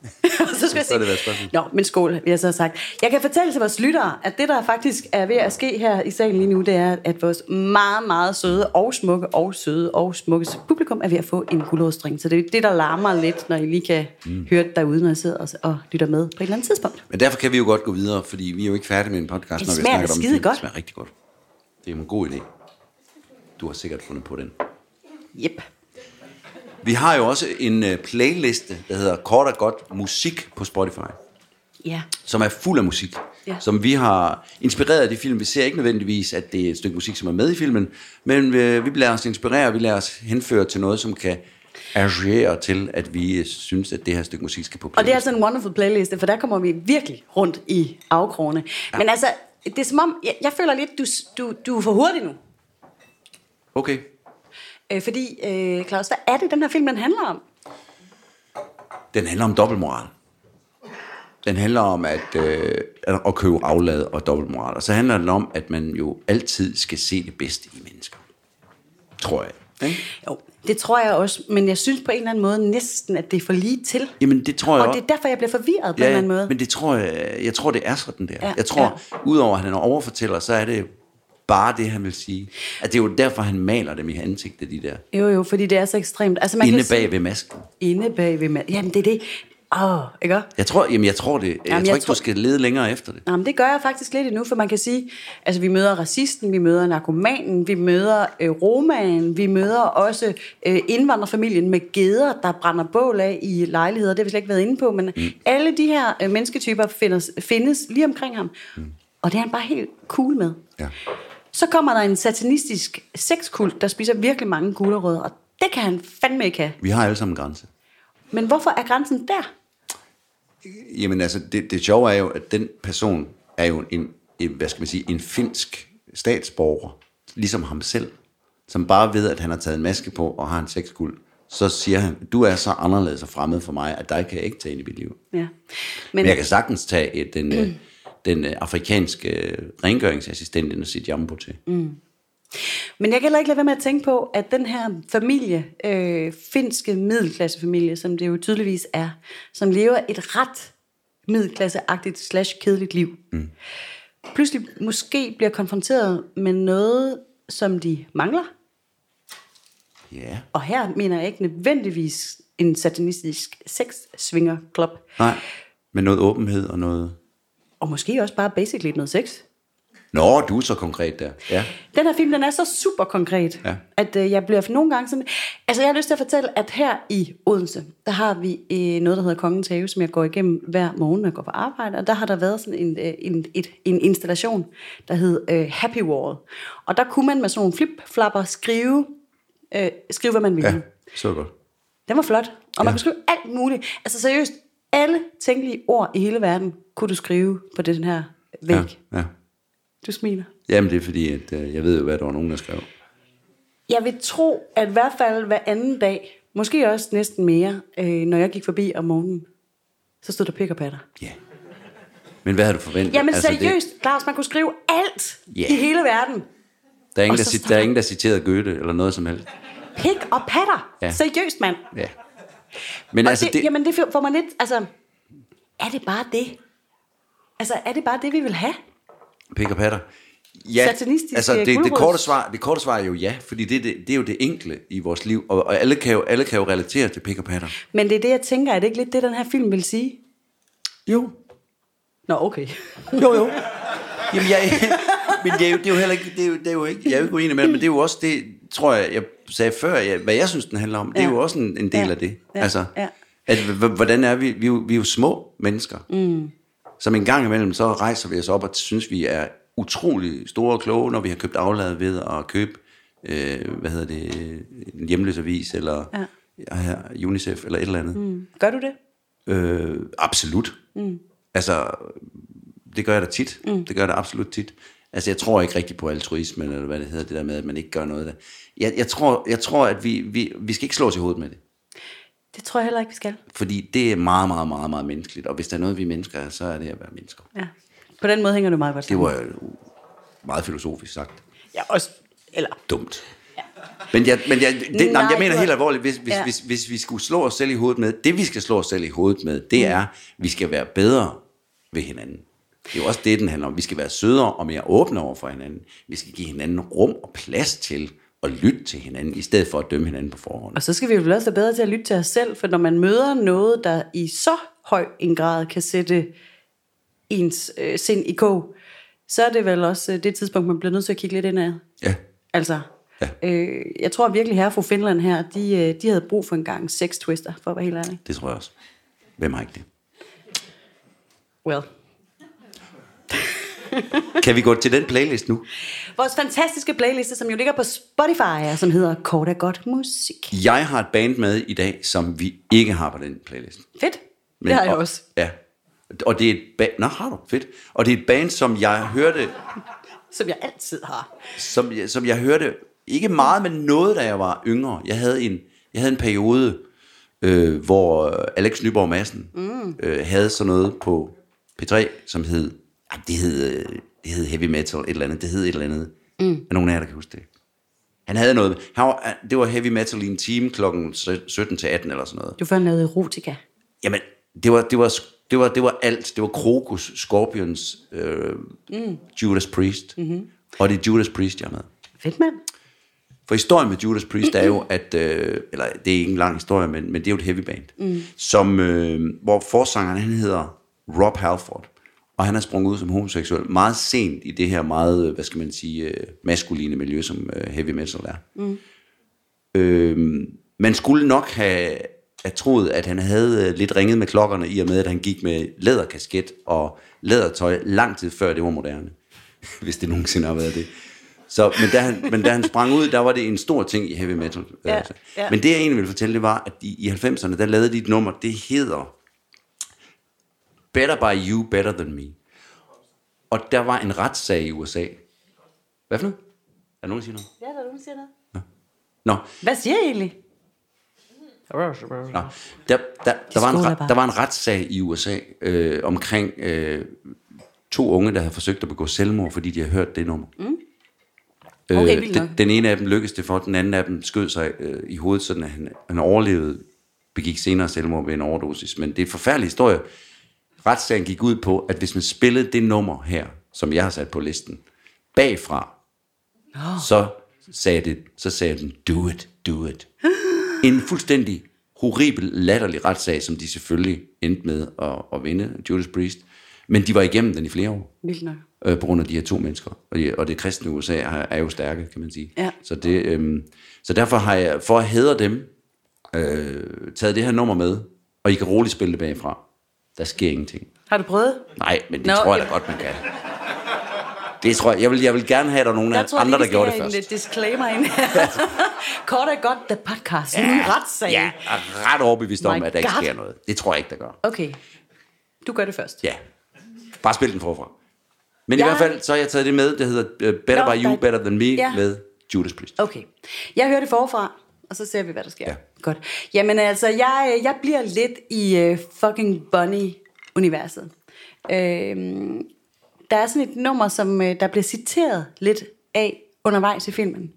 Speaker 3: så skal jeg
Speaker 2: Så er det
Speaker 3: sige...
Speaker 2: været spørgsmål.
Speaker 3: Nå, men skål, vil jeg så have sagt. Jeg kan fortælle til vores lyttere, at det, der faktisk er ved at ske her i salen lige nu, det er, at vores meget, meget søde og smukke og søde og smukke publikum er ved at få en gulerodsdrink. Så det er det, der larmer lidt, når I lige kan mm. høre det derude, når I sidder og, og lytter med på et eller andet tidspunkt.
Speaker 2: Men derfor kan vi jo godt gå videre, fordi vi er jo ikke færdige med en podcast,
Speaker 3: Det
Speaker 2: når vi
Speaker 3: smager
Speaker 2: snakker om
Speaker 3: skide
Speaker 2: film.
Speaker 3: godt.
Speaker 2: Det smager rigtig godt. Det er en god idé. Du har sikkert fundet på den.
Speaker 3: Yep.
Speaker 2: Vi har jo også en øh, playliste, der hedder Kort og Godt Musik på Spotify,
Speaker 3: Ja.
Speaker 2: som er fuld af musik,
Speaker 3: Ja.
Speaker 2: som vi har inspireret af de film. Vi ser ikke nødvendigvis, at det er et stykke musik, som er med i filmen, men øh, vi lader os inspirere, og vi lader os henføre til noget, som kan agere til, at vi øh, synes, at det her stykke musik skal på
Speaker 3: Og det er
Speaker 2: playlisten.
Speaker 3: altså en wonderful playliste, for der kommer vi virkelig rundt i afkrogene. Ja. Men altså, det er som om, jeg, jeg føler lidt, du, s- du, du er for hurtig nu.
Speaker 2: Okay.
Speaker 3: Øh, fordi, øh, Claus, hvad er det, den her film, den handler om?
Speaker 2: Den handler om dobbeltmoral. Den handler om at, øh, at købe aflad og dobbeltmoral. Og så handler den om, at man jo altid skal se det bedste i mennesker. Tror jeg. Ikke?
Speaker 3: Jo, det tror jeg også, men jeg synes på en eller anden måde næsten, at det er for lige til.
Speaker 2: Jamen, det tror jeg
Speaker 3: Og
Speaker 2: også.
Speaker 3: det er derfor, jeg bliver forvirret på en eller anden måde.
Speaker 2: men det tror jeg, jeg tror, det er sådan der.
Speaker 3: Ja,
Speaker 2: Ja, jeg tror,
Speaker 3: ja.
Speaker 2: ja. udover at han overfortæller, så er det bare det, han vil sige. At det er jo derfor, han maler dem i ansigtet, de der.
Speaker 3: Jo, jo, fordi det er så ekstremt. Altså, man
Speaker 2: inde
Speaker 3: kan
Speaker 2: bag ved masken.
Speaker 3: Sige, inde bag ved mand. Jamen, det er det. Åh, oh, ikke også?
Speaker 2: Jeg tror, jamen, jeg tror det. jeg
Speaker 3: Jamen,
Speaker 2: tror
Speaker 3: jeg
Speaker 2: ikke,
Speaker 3: tror-
Speaker 2: du skal lede længere efter det.
Speaker 3: Jamen, det gør jeg faktisk lidt endnu, for man kan sige, altså vi møder racisten, vi møder narkomanen, vi møder øh, romaen, vi møder også øh, indvandrerfamilien med geder, der brænder bål af i lejligheder, det har vi slet ikke været inde på, men mm. alle de her øh, mennesketyper findes, findes lige omkring ham, mm. og det er han bare helt cool med.
Speaker 2: Ja.
Speaker 3: Så kommer der en satanistisk sexkult, der spiser virkelig mange gulerødder, og det kan han fandme ikke have.
Speaker 2: Vi har alle sammen en grænse.
Speaker 3: Men hvorfor er grænsen der?
Speaker 2: Jamen altså, det, det sjove er jo, at den person er jo en, en, hvad skal man sige, en finsk statsborger, ligesom ham selv, som bare ved, at han har taget en maske på og har en sexguld, så siger han, du er så anderledes og fremmed for mig, at dig kan jeg ikke tage ind i mit liv.
Speaker 3: Ja. Men,
Speaker 2: Men jeg kan sagtens tage øh, den, øh, den øh, afrikanske øh, rengøringsassistent ind og sige jambo til. Mm.
Speaker 3: Men jeg kan heller ikke lade være med at tænke på, at den her familie, øh, finske middelklassefamilie, som det jo tydeligvis er, som lever et ret middelklasseagtigt slash kedeligt liv, mm. pludselig måske bliver konfronteret med noget, som de mangler.
Speaker 2: Ja.
Speaker 3: Og her mener jeg ikke nødvendigvis en satanistisk sexsvingerklub.
Speaker 2: Nej, med noget åbenhed og noget...
Speaker 3: Og måske også bare basically noget sex.
Speaker 2: Nå, du er så konkret der. Ja.
Speaker 3: Den her film, den er så super konkret, ja.
Speaker 2: Ja.
Speaker 3: at øh, jeg bliver nogle gange sådan... Altså, jeg har lyst til at fortælle, at her i Odense, der har vi øh, noget, der hedder Kongens Have, som jeg går igennem hver morgen, når jeg går på arbejde. Og der har der været sådan en, øh, en, et, en installation, der hed øh, Happy Wall. Og der kunne man med sådan nogle flip-flapper skrive, øh, skrive, hvad man ville. Ja.
Speaker 2: ja, så godt.
Speaker 3: Den var flot. Og ja. man
Speaker 2: Ja.
Speaker 3: kunne skrive alt muligt. Altså, seriøst, alle tænkelige ord i hele verden kunne du skrive på den her væg. Ja.
Speaker 2: Ja, ja.
Speaker 3: Du smiler.
Speaker 2: Jamen det er fordi, at øh, jeg ved jo, hvad der var nogen, der skrev.
Speaker 3: Jeg vil tro, at i hvert fald hver anden dag, måske også næsten mere, øh, når jeg gik forbi om morgenen, så stod der pik og patter.
Speaker 2: Ja. Men hvad havde du forventet?
Speaker 3: Jamen
Speaker 2: Altså,
Speaker 3: seriøst, Claus, man kunne skrive alt
Speaker 2: Ja.
Speaker 3: i hele verden.
Speaker 2: Der er ingen,
Speaker 3: Og
Speaker 2: der,
Speaker 3: så
Speaker 2: cit-
Speaker 3: står
Speaker 2: der, er
Speaker 3: der-
Speaker 2: ingen der citerer Goethe eller noget som helst.
Speaker 3: Pik og patter.
Speaker 2: Ja.
Speaker 3: Ja. Seriøst, mand.
Speaker 2: Ja. Men
Speaker 3: Og
Speaker 2: altså, det,
Speaker 3: Jamen, det får man lidt... Altså, er det bare det? Altså, er det bare det, vi vil have?
Speaker 2: Pik og patter. Ja,
Speaker 3: Satanistiske
Speaker 2: altså det, det,
Speaker 3: gulerods.
Speaker 2: korte svar, det korte svar er jo ja, fordi det, det, det er jo det enkle i vores liv, og, og alle, kan jo, alle kan jo relatere til pik og patter.
Speaker 3: Men det er det, jeg tænker. Er det ikke lidt det, den her film vil sige?
Speaker 2: Jo,
Speaker 3: Nå, okay.
Speaker 2: jo, jo. Jamen, jeg, men det er, jo, det er jo heller ikke, det er jo, det er jo ikke, jeg er jo ikke uenig med det, men det er jo også det, tror jeg, jeg sagde før, jeg, hvad jeg synes, den handler om, det er
Speaker 3: Ja.
Speaker 2: jo også en, en del
Speaker 3: Ja.
Speaker 2: af det.
Speaker 3: Ja.
Speaker 2: Altså,
Speaker 3: Ja.
Speaker 2: at, h- h- hvordan er vi, vi er jo, vi er jo små mennesker, mm. som en gang imellem, så rejser vi os op og synes, vi er utrolig store og kloge, når vi har købt afladet ved at købe, øh, hvad hedder det, øh, en hjemløsavis, eller ja. UNICEF, eller et eller andet. Mm.
Speaker 3: Gør du det?
Speaker 2: Øh, absolut. Mm. Altså, det gør jeg da tit. Mm. Det gør jeg da absolut tit. Altså, jeg tror ikke rigtig på altruisme, eller hvad det hedder, det der med, at man ikke gør noget der. Jeg, jeg, tror, jeg tror, at vi, vi, vi skal ikke slå os i hovedet med det.
Speaker 3: Det tror jeg heller ikke, vi skal.
Speaker 2: Fordi det er meget, meget, meget, meget menneskeligt. Og hvis der er noget, vi er mennesker er, så er det at være mennesker.
Speaker 3: Ja. På den måde hænger du meget godt
Speaker 2: Det
Speaker 3: sammen.
Speaker 2: var jo meget filosofisk sagt.
Speaker 3: Ja, også... Eller...
Speaker 2: Dumt. Men jeg, men jeg, det, nej,
Speaker 3: Nej,
Speaker 2: jeg mener
Speaker 3: du har-
Speaker 2: helt alvorligt, hvis, hvis, ja.
Speaker 3: Ja.
Speaker 2: hvis, hvis vi skulle slå os selv i hovedet med, det vi skal slå os selv i hovedet med, det
Speaker 3: Mm.
Speaker 2: er, vi skal være bedre ved hinanden. Det er jo også det, den handler om. Vi skal være sødere og mere åbne over for hinanden. Vi skal give hinanden rum og plads til at lytte til hinanden, i stedet for at dømme hinanden på forhånd.
Speaker 3: Og så skal vi jo vel også være bedre til at lytte til os selv, for når man møder noget, der i så høj en grad kan sætte ens øh, sind i kog, så er det vel også øh, det tidspunkt, man bliver nødt til at kigge lidt indad.
Speaker 2: Ja,
Speaker 3: Altså,
Speaker 2: Ja.
Speaker 3: øh, jeg tror virkelig, herre og fru Finland her, de, øh, de havde brug for en gang seks twister, for at være helt ærlig.
Speaker 2: det tror jeg også. Hvem har ikke det?
Speaker 3: Well.
Speaker 2: Kan vi gå til den playlist nu?
Speaker 3: Vores fantastiske playliste, som jo ligger på Spotify, og som hedder Kort er godt musik.
Speaker 2: Jeg har et band med i dag, som vi ikke har på den playlist.
Speaker 3: Fedt. Men, det har jeg
Speaker 2: og,
Speaker 3: også.
Speaker 2: Ja. Og det er et band... Nå, har du? Fedt. Og det er et band, som jeg hørte,
Speaker 3: Som jeg altid har.
Speaker 2: som, jeg- som jeg hørte ikke meget, men noget, da jeg var yngre. Jeg havde en, jeg havde en periode, øh, hvor øh, Alex Nyborg Madsen mm. øh, havde sådan noget på P3, som hed... Ej, det hed, øh, det hed heavy metal, et eller andet. Det hed et eller andet. Mm. Er nogen af jer, der kan huske det? Han havde noget... Han var, ah, det var heavy metal i en time klokken 17 til 18 eller sådan noget.
Speaker 3: Du får lavet erotika.
Speaker 2: Jamen, det var, det var, det var, det var alt. Det var Krokus, Scorpions, øh, mm. Judas Priest. Mm-hmm. Og det er Judas Priest, jeg er med.
Speaker 3: Fedt, mand.
Speaker 2: For historien med Judas Priest er jo, at... Øh, eller, det er ikke en lang historie, men, men det er jo et heavy band. Mm. Som, øh, hvor forsangeren, han hedder Rob Halford. Og han er sprunget ud som homoseksuel meget sent i det her meget, øh, hvad skal man sige, øh, maskuline miljø, som øh, heavy metal er. Øh, man skulle nok have, have troet, at han havde øh, lidt ringet med klokkerne, i og med, at han gik med læderkasket og lædertøj lang tid før det var moderne. Hvis det nogensinde har været det. Så, men, da han, men da han sprang ud, der var det en stor ting i heavy metal.
Speaker 3: Ja,
Speaker 2: Altså.
Speaker 3: ja.
Speaker 2: Men det jeg egentlig ville fortælle, det var, at i, i 90'erne, der lavede de et nummer, det hedder Better By You, Better Than Me. Og der var en retssag i USA. Hvad for noget? Er der nogen, der siger noget?
Speaker 3: Ja, der er nogen, der siger noget.
Speaker 2: Nå,
Speaker 3: Hvad siger I egentlig?
Speaker 2: Nå, der, der, der, var en,
Speaker 3: skoler
Speaker 2: ret-
Speaker 3: bare.
Speaker 2: der var en retssag i USA øh, omkring øh, to unge, der havde forsøgt at begå selvmord, fordi de havde hørt det nummer. Mm.
Speaker 3: Okay,
Speaker 2: øh,
Speaker 3: vildt
Speaker 2: den,
Speaker 3: nok.
Speaker 2: den ene af dem lykkedes det for, den anden af dem skød sig øh, i hovedet, sådan at han, han overlevede, begik senere selvmord ved en overdosis. Men det er en forfærdelig historie. Retssagen gik ud på, at hvis man spillede det nummer her, som jeg har sat på listen, bagfra, oh. så, sagde det, så sagde den, do it, do it en fuldstændig horribel, latterlig retssag, som de selvfølgelig endte med at, at vinde, Judas Priest. Men de var igennem den i flere år,
Speaker 3: Vildt nok.
Speaker 2: øh, på grund af de her to mennesker. Og, de, og det kristne USA er, er jo stærke, kan man sige.
Speaker 3: Ja.
Speaker 2: Så, det, øh, så derfor har jeg, for at hædre dem, øh, taget det her nummer med, og I kan roligt spille det bagfra. Der sker ingenting.
Speaker 3: Har du prøvet?
Speaker 2: Nej, men det
Speaker 3: Nå,
Speaker 2: Nå, tror jeg da
Speaker 3: jamen.
Speaker 2: godt, man kan. Det tror jeg. Jeg vil, jeg vil gerne have, at der er nogen
Speaker 3: Jeg
Speaker 2: af
Speaker 3: tror,
Speaker 2: andre,
Speaker 3: lige,
Speaker 2: der
Speaker 3: vi skal
Speaker 2: gjorde det
Speaker 3: have
Speaker 2: først.
Speaker 3: en øh, disclaimer ind. Kort og godt, The Podcast. Ja. En retssag.
Speaker 2: Ja, jeg er ret overbevist om,
Speaker 3: My
Speaker 2: at der ikke
Speaker 3: God.
Speaker 2: sker noget. Det tror jeg ikke, der gør.
Speaker 3: Okay. Du gør det først.
Speaker 2: Ja. Bare spil den forfra. Men i
Speaker 3: Jeg-
Speaker 2: hvert fald, så har jeg taget det med, det hedder øh, Better
Speaker 3: Nå,
Speaker 2: By You,
Speaker 3: der-
Speaker 2: Better Than Me,
Speaker 3: Ja.
Speaker 2: med Judas Priest.
Speaker 3: Okay. Jeg hører det forfra, og så ser vi, hvad der sker.
Speaker 2: Ja.
Speaker 3: Ja. Godt. Jamen altså, jeg, øh, jeg bliver lidt i øh, fucking Bunny-universet. Øhm, der er sådan et nummer, som øh, der bliver citeret lidt af undervejs i filmen.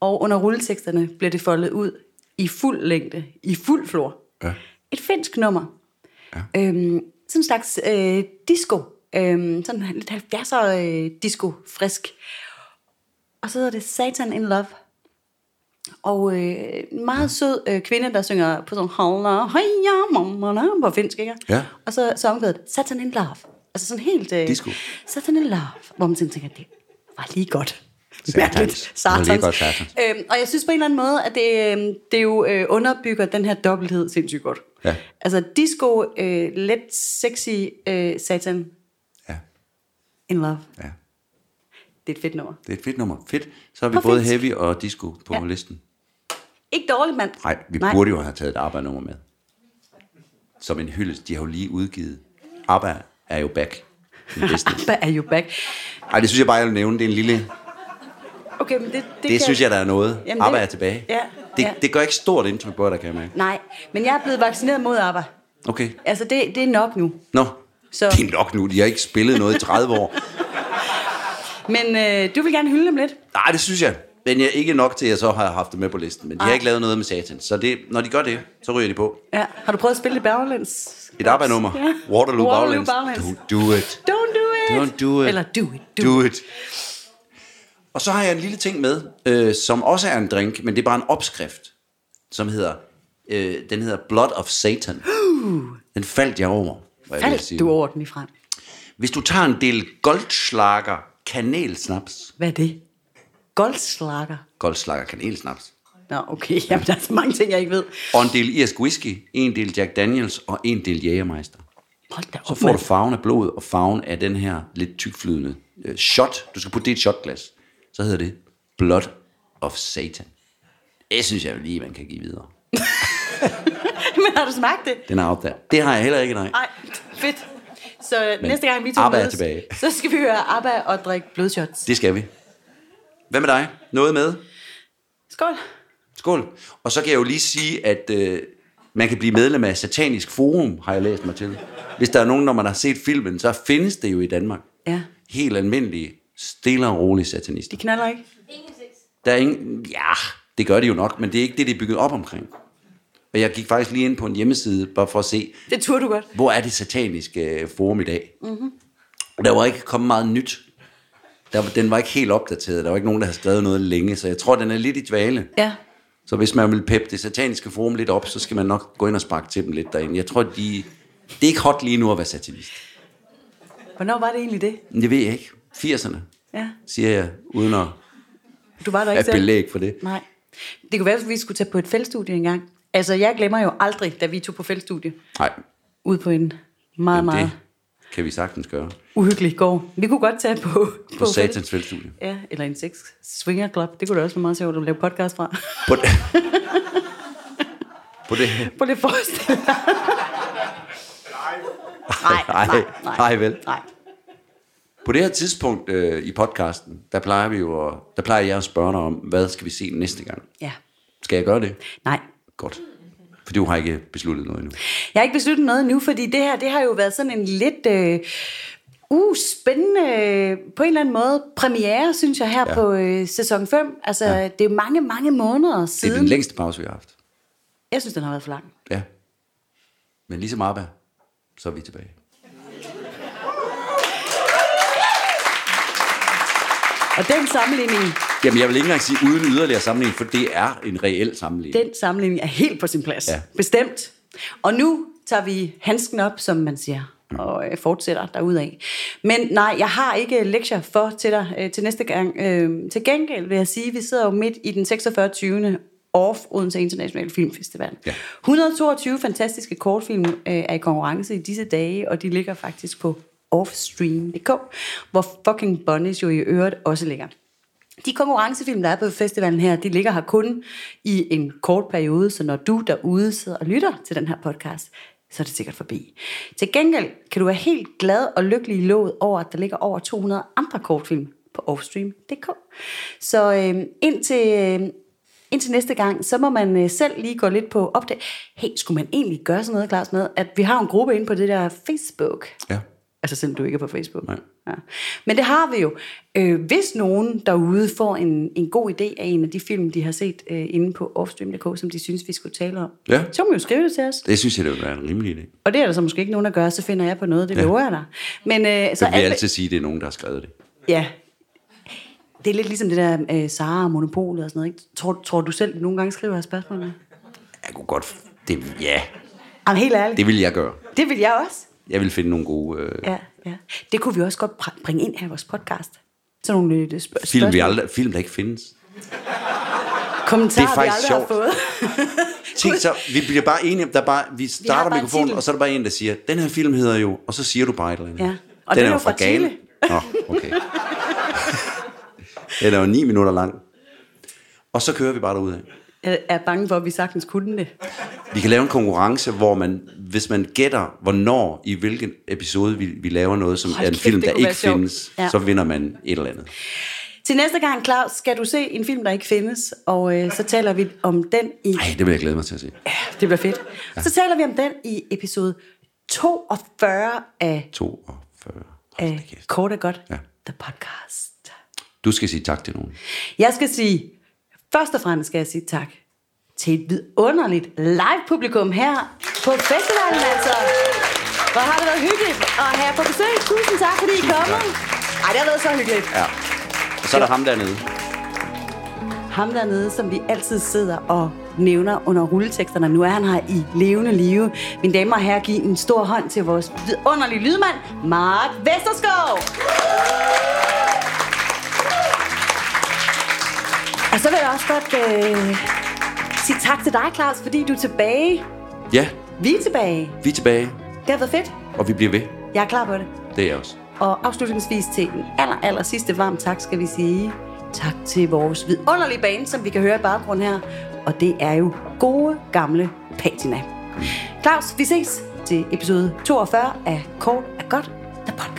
Speaker 3: Og under rulleteksterne bliver det foldet ud i fuld længde, i fuld flor.
Speaker 2: Ja.
Speaker 3: Et finsk nummer. Ja. Øhm, sådan en slags øh, disco. Øhm, sådan lidt 70'er øh, disco, frisk. Og så hedder det Satan in Love. Og øh, en meget sød øh, kvinde, der synger på sådan Holla, heja, mamma, na, på finsk, ikke?
Speaker 2: Ja.
Speaker 3: Og så, så omkvædet Satan in Love. Altså sådan helt... Øh,
Speaker 2: Disco.
Speaker 3: Satan in Love. Hvor man sådan tænker, det var lige godt.
Speaker 2: Satans.
Speaker 3: Mærkeligt.
Speaker 2: Det var lige
Speaker 3: Satans.
Speaker 2: godt satans.
Speaker 3: Øhm, og jeg synes på en eller anden måde, at det, øhm, det jo øh, underbygger den her dobbelthed sindssygt godt.
Speaker 2: Ja.
Speaker 3: Altså disco, øh, let sexy, øh, satan
Speaker 2: Ja,
Speaker 3: in love.
Speaker 2: ja.
Speaker 3: Det er et fedt nummer.
Speaker 2: Det er et fedt nummer. Fedt. Så har vi
Speaker 3: På
Speaker 2: både
Speaker 3: finsk.
Speaker 2: heavy og disco på ja. listen.
Speaker 3: Ikke dårligt, mand.
Speaker 2: Nej, vi Nej. burde jo have taget et ABBA-nummer med. Som en hyldest. De har jo lige udgivet. ABBA er jo back. Den bedste.
Speaker 3: Abba er jo back.
Speaker 2: Ej, det synes jeg bare, jeg vil nævne. Det er en lille... Det,
Speaker 3: Okay, men det, det,
Speaker 2: det
Speaker 3: kan-
Speaker 2: synes jeg, der er noget.
Speaker 3: Jamen,
Speaker 2: Jamen,
Speaker 3: det-
Speaker 2: ABBA er tilbage.
Speaker 3: Ja,
Speaker 2: det,
Speaker 3: ja.
Speaker 2: det gør ikke stort indtryk på dig, kan jeg mærke.
Speaker 3: Nej, men jeg er blevet vaccineret mod ABBA.
Speaker 2: Okay.
Speaker 3: Altså, det, det er nok nu.
Speaker 2: Nå.
Speaker 3: Så-
Speaker 2: Så. Det er nok nu. De har ikke spillet noget i 30 år.
Speaker 3: Men øh, du vil gerne hylde dem lidt.
Speaker 2: Nej, det synes jeg. Men jeg er ikke nok til, at jeg så har haft det med på listen. Men de har
Speaker 3: Nej.
Speaker 2: ikke lavet noget med satan. Så det, når de gør det, så ryger de på.
Speaker 3: Ja. Har du prøvet at spille lidt baglæns?
Speaker 2: Et ABBA-nummer.
Speaker 3: Ja.
Speaker 2: Waterloo,
Speaker 3: Waterloo
Speaker 2: Waterloo
Speaker 3: baglæns.
Speaker 2: Baglands. Don't do it.
Speaker 3: Don't do it.
Speaker 2: Don't do it.
Speaker 3: Eller do it. Do, do.
Speaker 2: Do it. Og så har jeg en lille ting med, øh, som også er en drink, men det er bare en opskrift, som hedder, øh, den hedder Blood of Satan. Den faldt jeg over. Hvad jeg vil
Speaker 3: Alt,
Speaker 2: sige.
Speaker 3: du over den lige frem.
Speaker 2: Hvis du tager en del goldslager kanelsnaps,
Speaker 3: Hvad er det? Goldslager.
Speaker 2: goldslager kanelsnaps,
Speaker 3: Nå, okay. Jamen, der er så mange ting, jeg ikke ved.
Speaker 2: og en del irsk whisky, en del Jack Daniels og en del Jægermeister,
Speaker 3: Hold da op,
Speaker 2: så får du farven af blodet og farven af den her lidt tykflydende øh, shot. Du skal putte det i et shotglas. Så hedder det Blood of Satan. Det synes jeg jo lige, man kan give videre.
Speaker 3: Men har du smagt det?
Speaker 2: Den er op der. Det har jeg heller ikke, nej.
Speaker 3: Nej, fedt. Så Men næste gang vi to
Speaker 2: ABBA er
Speaker 3: mødes,
Speaker 2: tilbage.
Speaker 3: så skal vi høre ABBA og drikke blodshots.
Speaker 2: Det skal vi. Hvad med dig? Noget med?
Speaker 3: Skål.
Speaker 2: Skål. Og så kan jeg jo lige sige, at øh, man kan blive medlem af Satanisk Forum, har jeg læst mig til. Hvis der er nogen, når man har set filmen, så findes det jo i Danmark.
Speaker 3: Ja.
Speaker 2: Helt almindelige, stille og rolige satanister.
Speaker 3: De knaller ikke.
Speaker 2: Der er ingen... Ja, det gør de jo nok, men det er ikke det, de er bygget op omkring. Og jeg gik faktisk lige ind på en hjemmeside, bare for at se,
Speaker 3: Det turde du godt.
Speaker 2: hvor er det sataniske øh, forum i dag? Mm-hmm.
Speaker 3: Mhm.
Speaker 2: Der var ikke kommet meget nyt. Der, var- den var ikke helt opdateret. Der var ikke nogen, der havde skrevet noget længe, så jeg tror, den er lidt i dvale.
Speaker 3: Ja.
Speaker 2: Så hvis man vil peppe det sataniske forum lidt op, så skal man nok gå ind og sparke til dem lidt derinde. Jeg tror, de, det er ikke hot lige nu at være satanist.
Speaker 3: Hvornår var det egentlig det?
Speaker 2: Men det ved jeg ikke. 80'erne,
Speaker 3: Ja.
Speaker 2: siger jeg, uden at
Speaker 3: Du var der ikke
Speaker 2: have
Speaker 3: selv.
Speaker 2: belæg for det.
Speaker 3: Nej. Det kunne være, at vi skulle tage på et fældstudie engang. Altså, jeg glemmer jo aldrig, da vi tog på fældstudie.
Speaker 2: Nej,
Speaker 3: Ude på en meget,
Speaker 2: men
Speaker 3: meget
Speaker 2: det kan vi sagtens gøre.
Speaker 3: uhyggelig gård. Vi kunne godt tage på...
Speaker 2: På
Speaker 3: fæld-
Speaker 2: satans fællestudie.
Speaker 3: Ja, eller en sex swinger club. Det kunne da også være meget sjovt at lave podcast fra.
Speaker 2: På, det- på det her.
Speaker 3: Prøv lige at forestille dig. Nej,
Speaker 2: nej, nej vel.
Speaker 3: Nej.
Speaker 2: På det her tidspunkt øh, i podcasten, der plejer, vi jo at, der plejer jeg at spørge dig om, hvad skal vi se næste gang?
Speaker 3: Ja.
Speaker 2: Skal jeg gøre det?
Speaker 3: Nej.
Speaker 2: Godt. For du har ikke besluttet noget endnu.
Speaker 3: Jeg har ikke besluttet noget nu, fordi det her, det har jo været sådan en lidt... Øh, Uh, spændende øh, på en eller anden måde premiere, synes jeg, her ja.
Speaker 2: Ja.
Speaker 3: på øh, sæson 5. Altså, ja. det er jo mange, mange måneder
Speaker 2: Det
Speaker 3: siden.
Speaker 2: er den længste pause, vi har haft.
Speaker 3: Jeg synes, den har været for lang.
Speaker 2: Ja. Men ligesom Abba, så er vi tilbage.
Speaker 3: Og den sammenligning,
Speaker 2: Jamen, jeg vil ikke engang sige uden yderligere sammenligning, for det er en reel sammenligning.
Speaker 3: den sammenligning er helt på sin plads. Ja.
Speaker 2: Ja.
Speaker 3: Bestemt. Og nu tager vi handsken op, som man siger, og øh, fortsætter derudad. Men nej, jeg har ikke lektier for til dig øh, til næste gang. Øh, til gengæld vil jeg sige, at vi sidder jo midt i den 46. 20. Off Odense Internationale Filmfestival.
Speaker 2: Ja.
Speaker 3: 122 fantastiske kortfilm øh, er i konkurrence i disse dage, og de ligger faktisk på offstream.dk, hvor fucking Bunnies jo i øvrigt også ligger. De konkurrencefilm, der er på festivalen her, de ligger her kun i en kort periode, så når du derude sidder og lytter til den her podcast, så er det sikkert forbi. Til gengæld kan du være helt glad og lykkelig i låget over, at der ligger over 200 andre kortfilm på offstream.dk. Så øh, indtil, øh, indtil næste gang, så må man øh, selv lige gå lidt på opdag. Hey, skulle man egentlig gøre sådan noget, Claus, med, at vi har en gruppe inde på det der Facebook?
Speaker 2: Ja.
Speaker 3: Altså selvom du ikke er på Facebook.
Speaker 2: Nej.
Speaker 3: Ja. Men det har vi jo. Øh, hvis nogen derude får en, en god idé af en af de film, de har set øh, inde på offstream.dk, som de synes, vi skulle tale om,
Speaker 2: Ja.
Speaker 3: så må man jo skrive det til os.
Speaker 2: Det synes jeg, det vil være en rimelig idé.
Speaker 3: Og det er der så måske ikke nogen, der gør, så finder jeg på noget, det lover jeg dig. Men, øh, så
Speaker 2: Så vil jeg
Speaker 3: alt-
Speaker 2: altid sige, at det er nogen, der har skrevet det.
Speaker 3: Ja. Det er lidt ligesom det der øh, Sara og Monopolet og sådan noget. Ikke? Tror, tror du selv, du nogle gange skriver her spørgsmålene?
Speaker 2: Jeg kunne godt... Det, ja,
Speaker 3: Jamen helt ærligt,
Speaker 2: det
Speaker 3: det,
Speaker 2: vil jeg gøre.
Speaker 3: det vil jeg også.
Speaker 2: Jeg vil finde nogle gode øh,
Speaker 3: Ja, ja. Det kunne vi også godt pr- bringe ind her i vores podcast. Sådan nogle øh, sp-
Speaker 2: film, vi
Speaker 3: spørgsmål.
Speaker 2: aldrig, film, der ikke findes.
Speaker 3: Kommentarer,
Speaker 2: Det er faktisk
Speaker 3: vi aldrig
Speaker 2: sjovt.
Speaker 3: har fået.
Speaker 2: Tænk så, vi bliver bare enige om, der er bare, vi starter
Speaker 3: bare en
Speaker 2: mikrofonen,
Speaker 3: titel.
Speaker 2: og så er der bare en, der siger, den her film hedder jo, og så siger du bare et eller andet.
Speaker 3: Ja. Og den er jo fra
Speaker 2: Ghana.
Speaker 3: Chile.
Speaker 2: Nå, okay. den er jo ni minutter lang. Og så kører vi bare derudad.
Speaker 3: Jeg er bange for, at vi sagtens kunne det.
Speaker 2: Vi kan lave en konkurrence, hvor man, hvis man gætter, hvornår, i hvilken episode vi, vi laver noget, som
Speaker 3: Hold
Speaker 2: er en
Speaker 3: kæft,
Speaker 2: film,
Speaker 3: det
Speaker 2: der
Speaker 3: kunne
Speaker 2: ikke
Speaker 3: være sjovt.
Speaker 2: findes,
Speaker 3: Ja.
Speaker 2: ja. så vinder man et eller andet.
Speaker 3: Til næste gang, Claus, skal du se en film, der ikke findes, og øh, så taler vi om den i...
Speaker 2: Ej, det vil jeg glæde mig til at se.
Speaker 3: Ja, det bliver fedt. Så taler vi om den i episode 42 af,
Speaker 2: 42. Hold da
Speaker 3: af
Speaker 2: kæft.
Speaker 3: Kort og Godt, ja.
Speaker 2: Ja.
Speaker 3: The Podcast.
Speaker 2: Du skal sige tak til nogen.
Speaker 3: Jeg skal sige, først og fremmest skal jeg sige tak til et vidunderligt live publikum her på festivalen altså. Hvor har det været hyggeligt at have jer på besøg. Tusind tak, fordi I er kommet. Ej, det har været så hyggeligt.
Speaker 2: Ja. Og så er der ham dernede.
Speaker 3: Ham dernede, som vi altid sidder og nævner under rulleteksterne. Nu er han her i levende live. Mine damer og herrer, giv en stor hånd til vores vidunderlige lydmand, Mark Vesterskov. Og så vil jeg også godt øh, sige tak til dig, Claus, fordi du er tilbage.
Speaker 2: Ja,
Speaker 3: Vi er tilbage.
Speaker 2: vi er tilbage,
Speaker 3: Det har været fedt.
Speaker 2: og vi bliver ved.
Speaker 3: Jeg er klar på det.
Speaker 2: Det er jeg også.
Speaker 3: Og afslutningsvis til den aller, aller sidste varm tak skal vi sige tak til vores vidunderlige bane, som vi kan høre i baggrunden her. Og det er jo gode gamle patina. Claus, vi ses til episode 42 af Kort er godt, der podcast.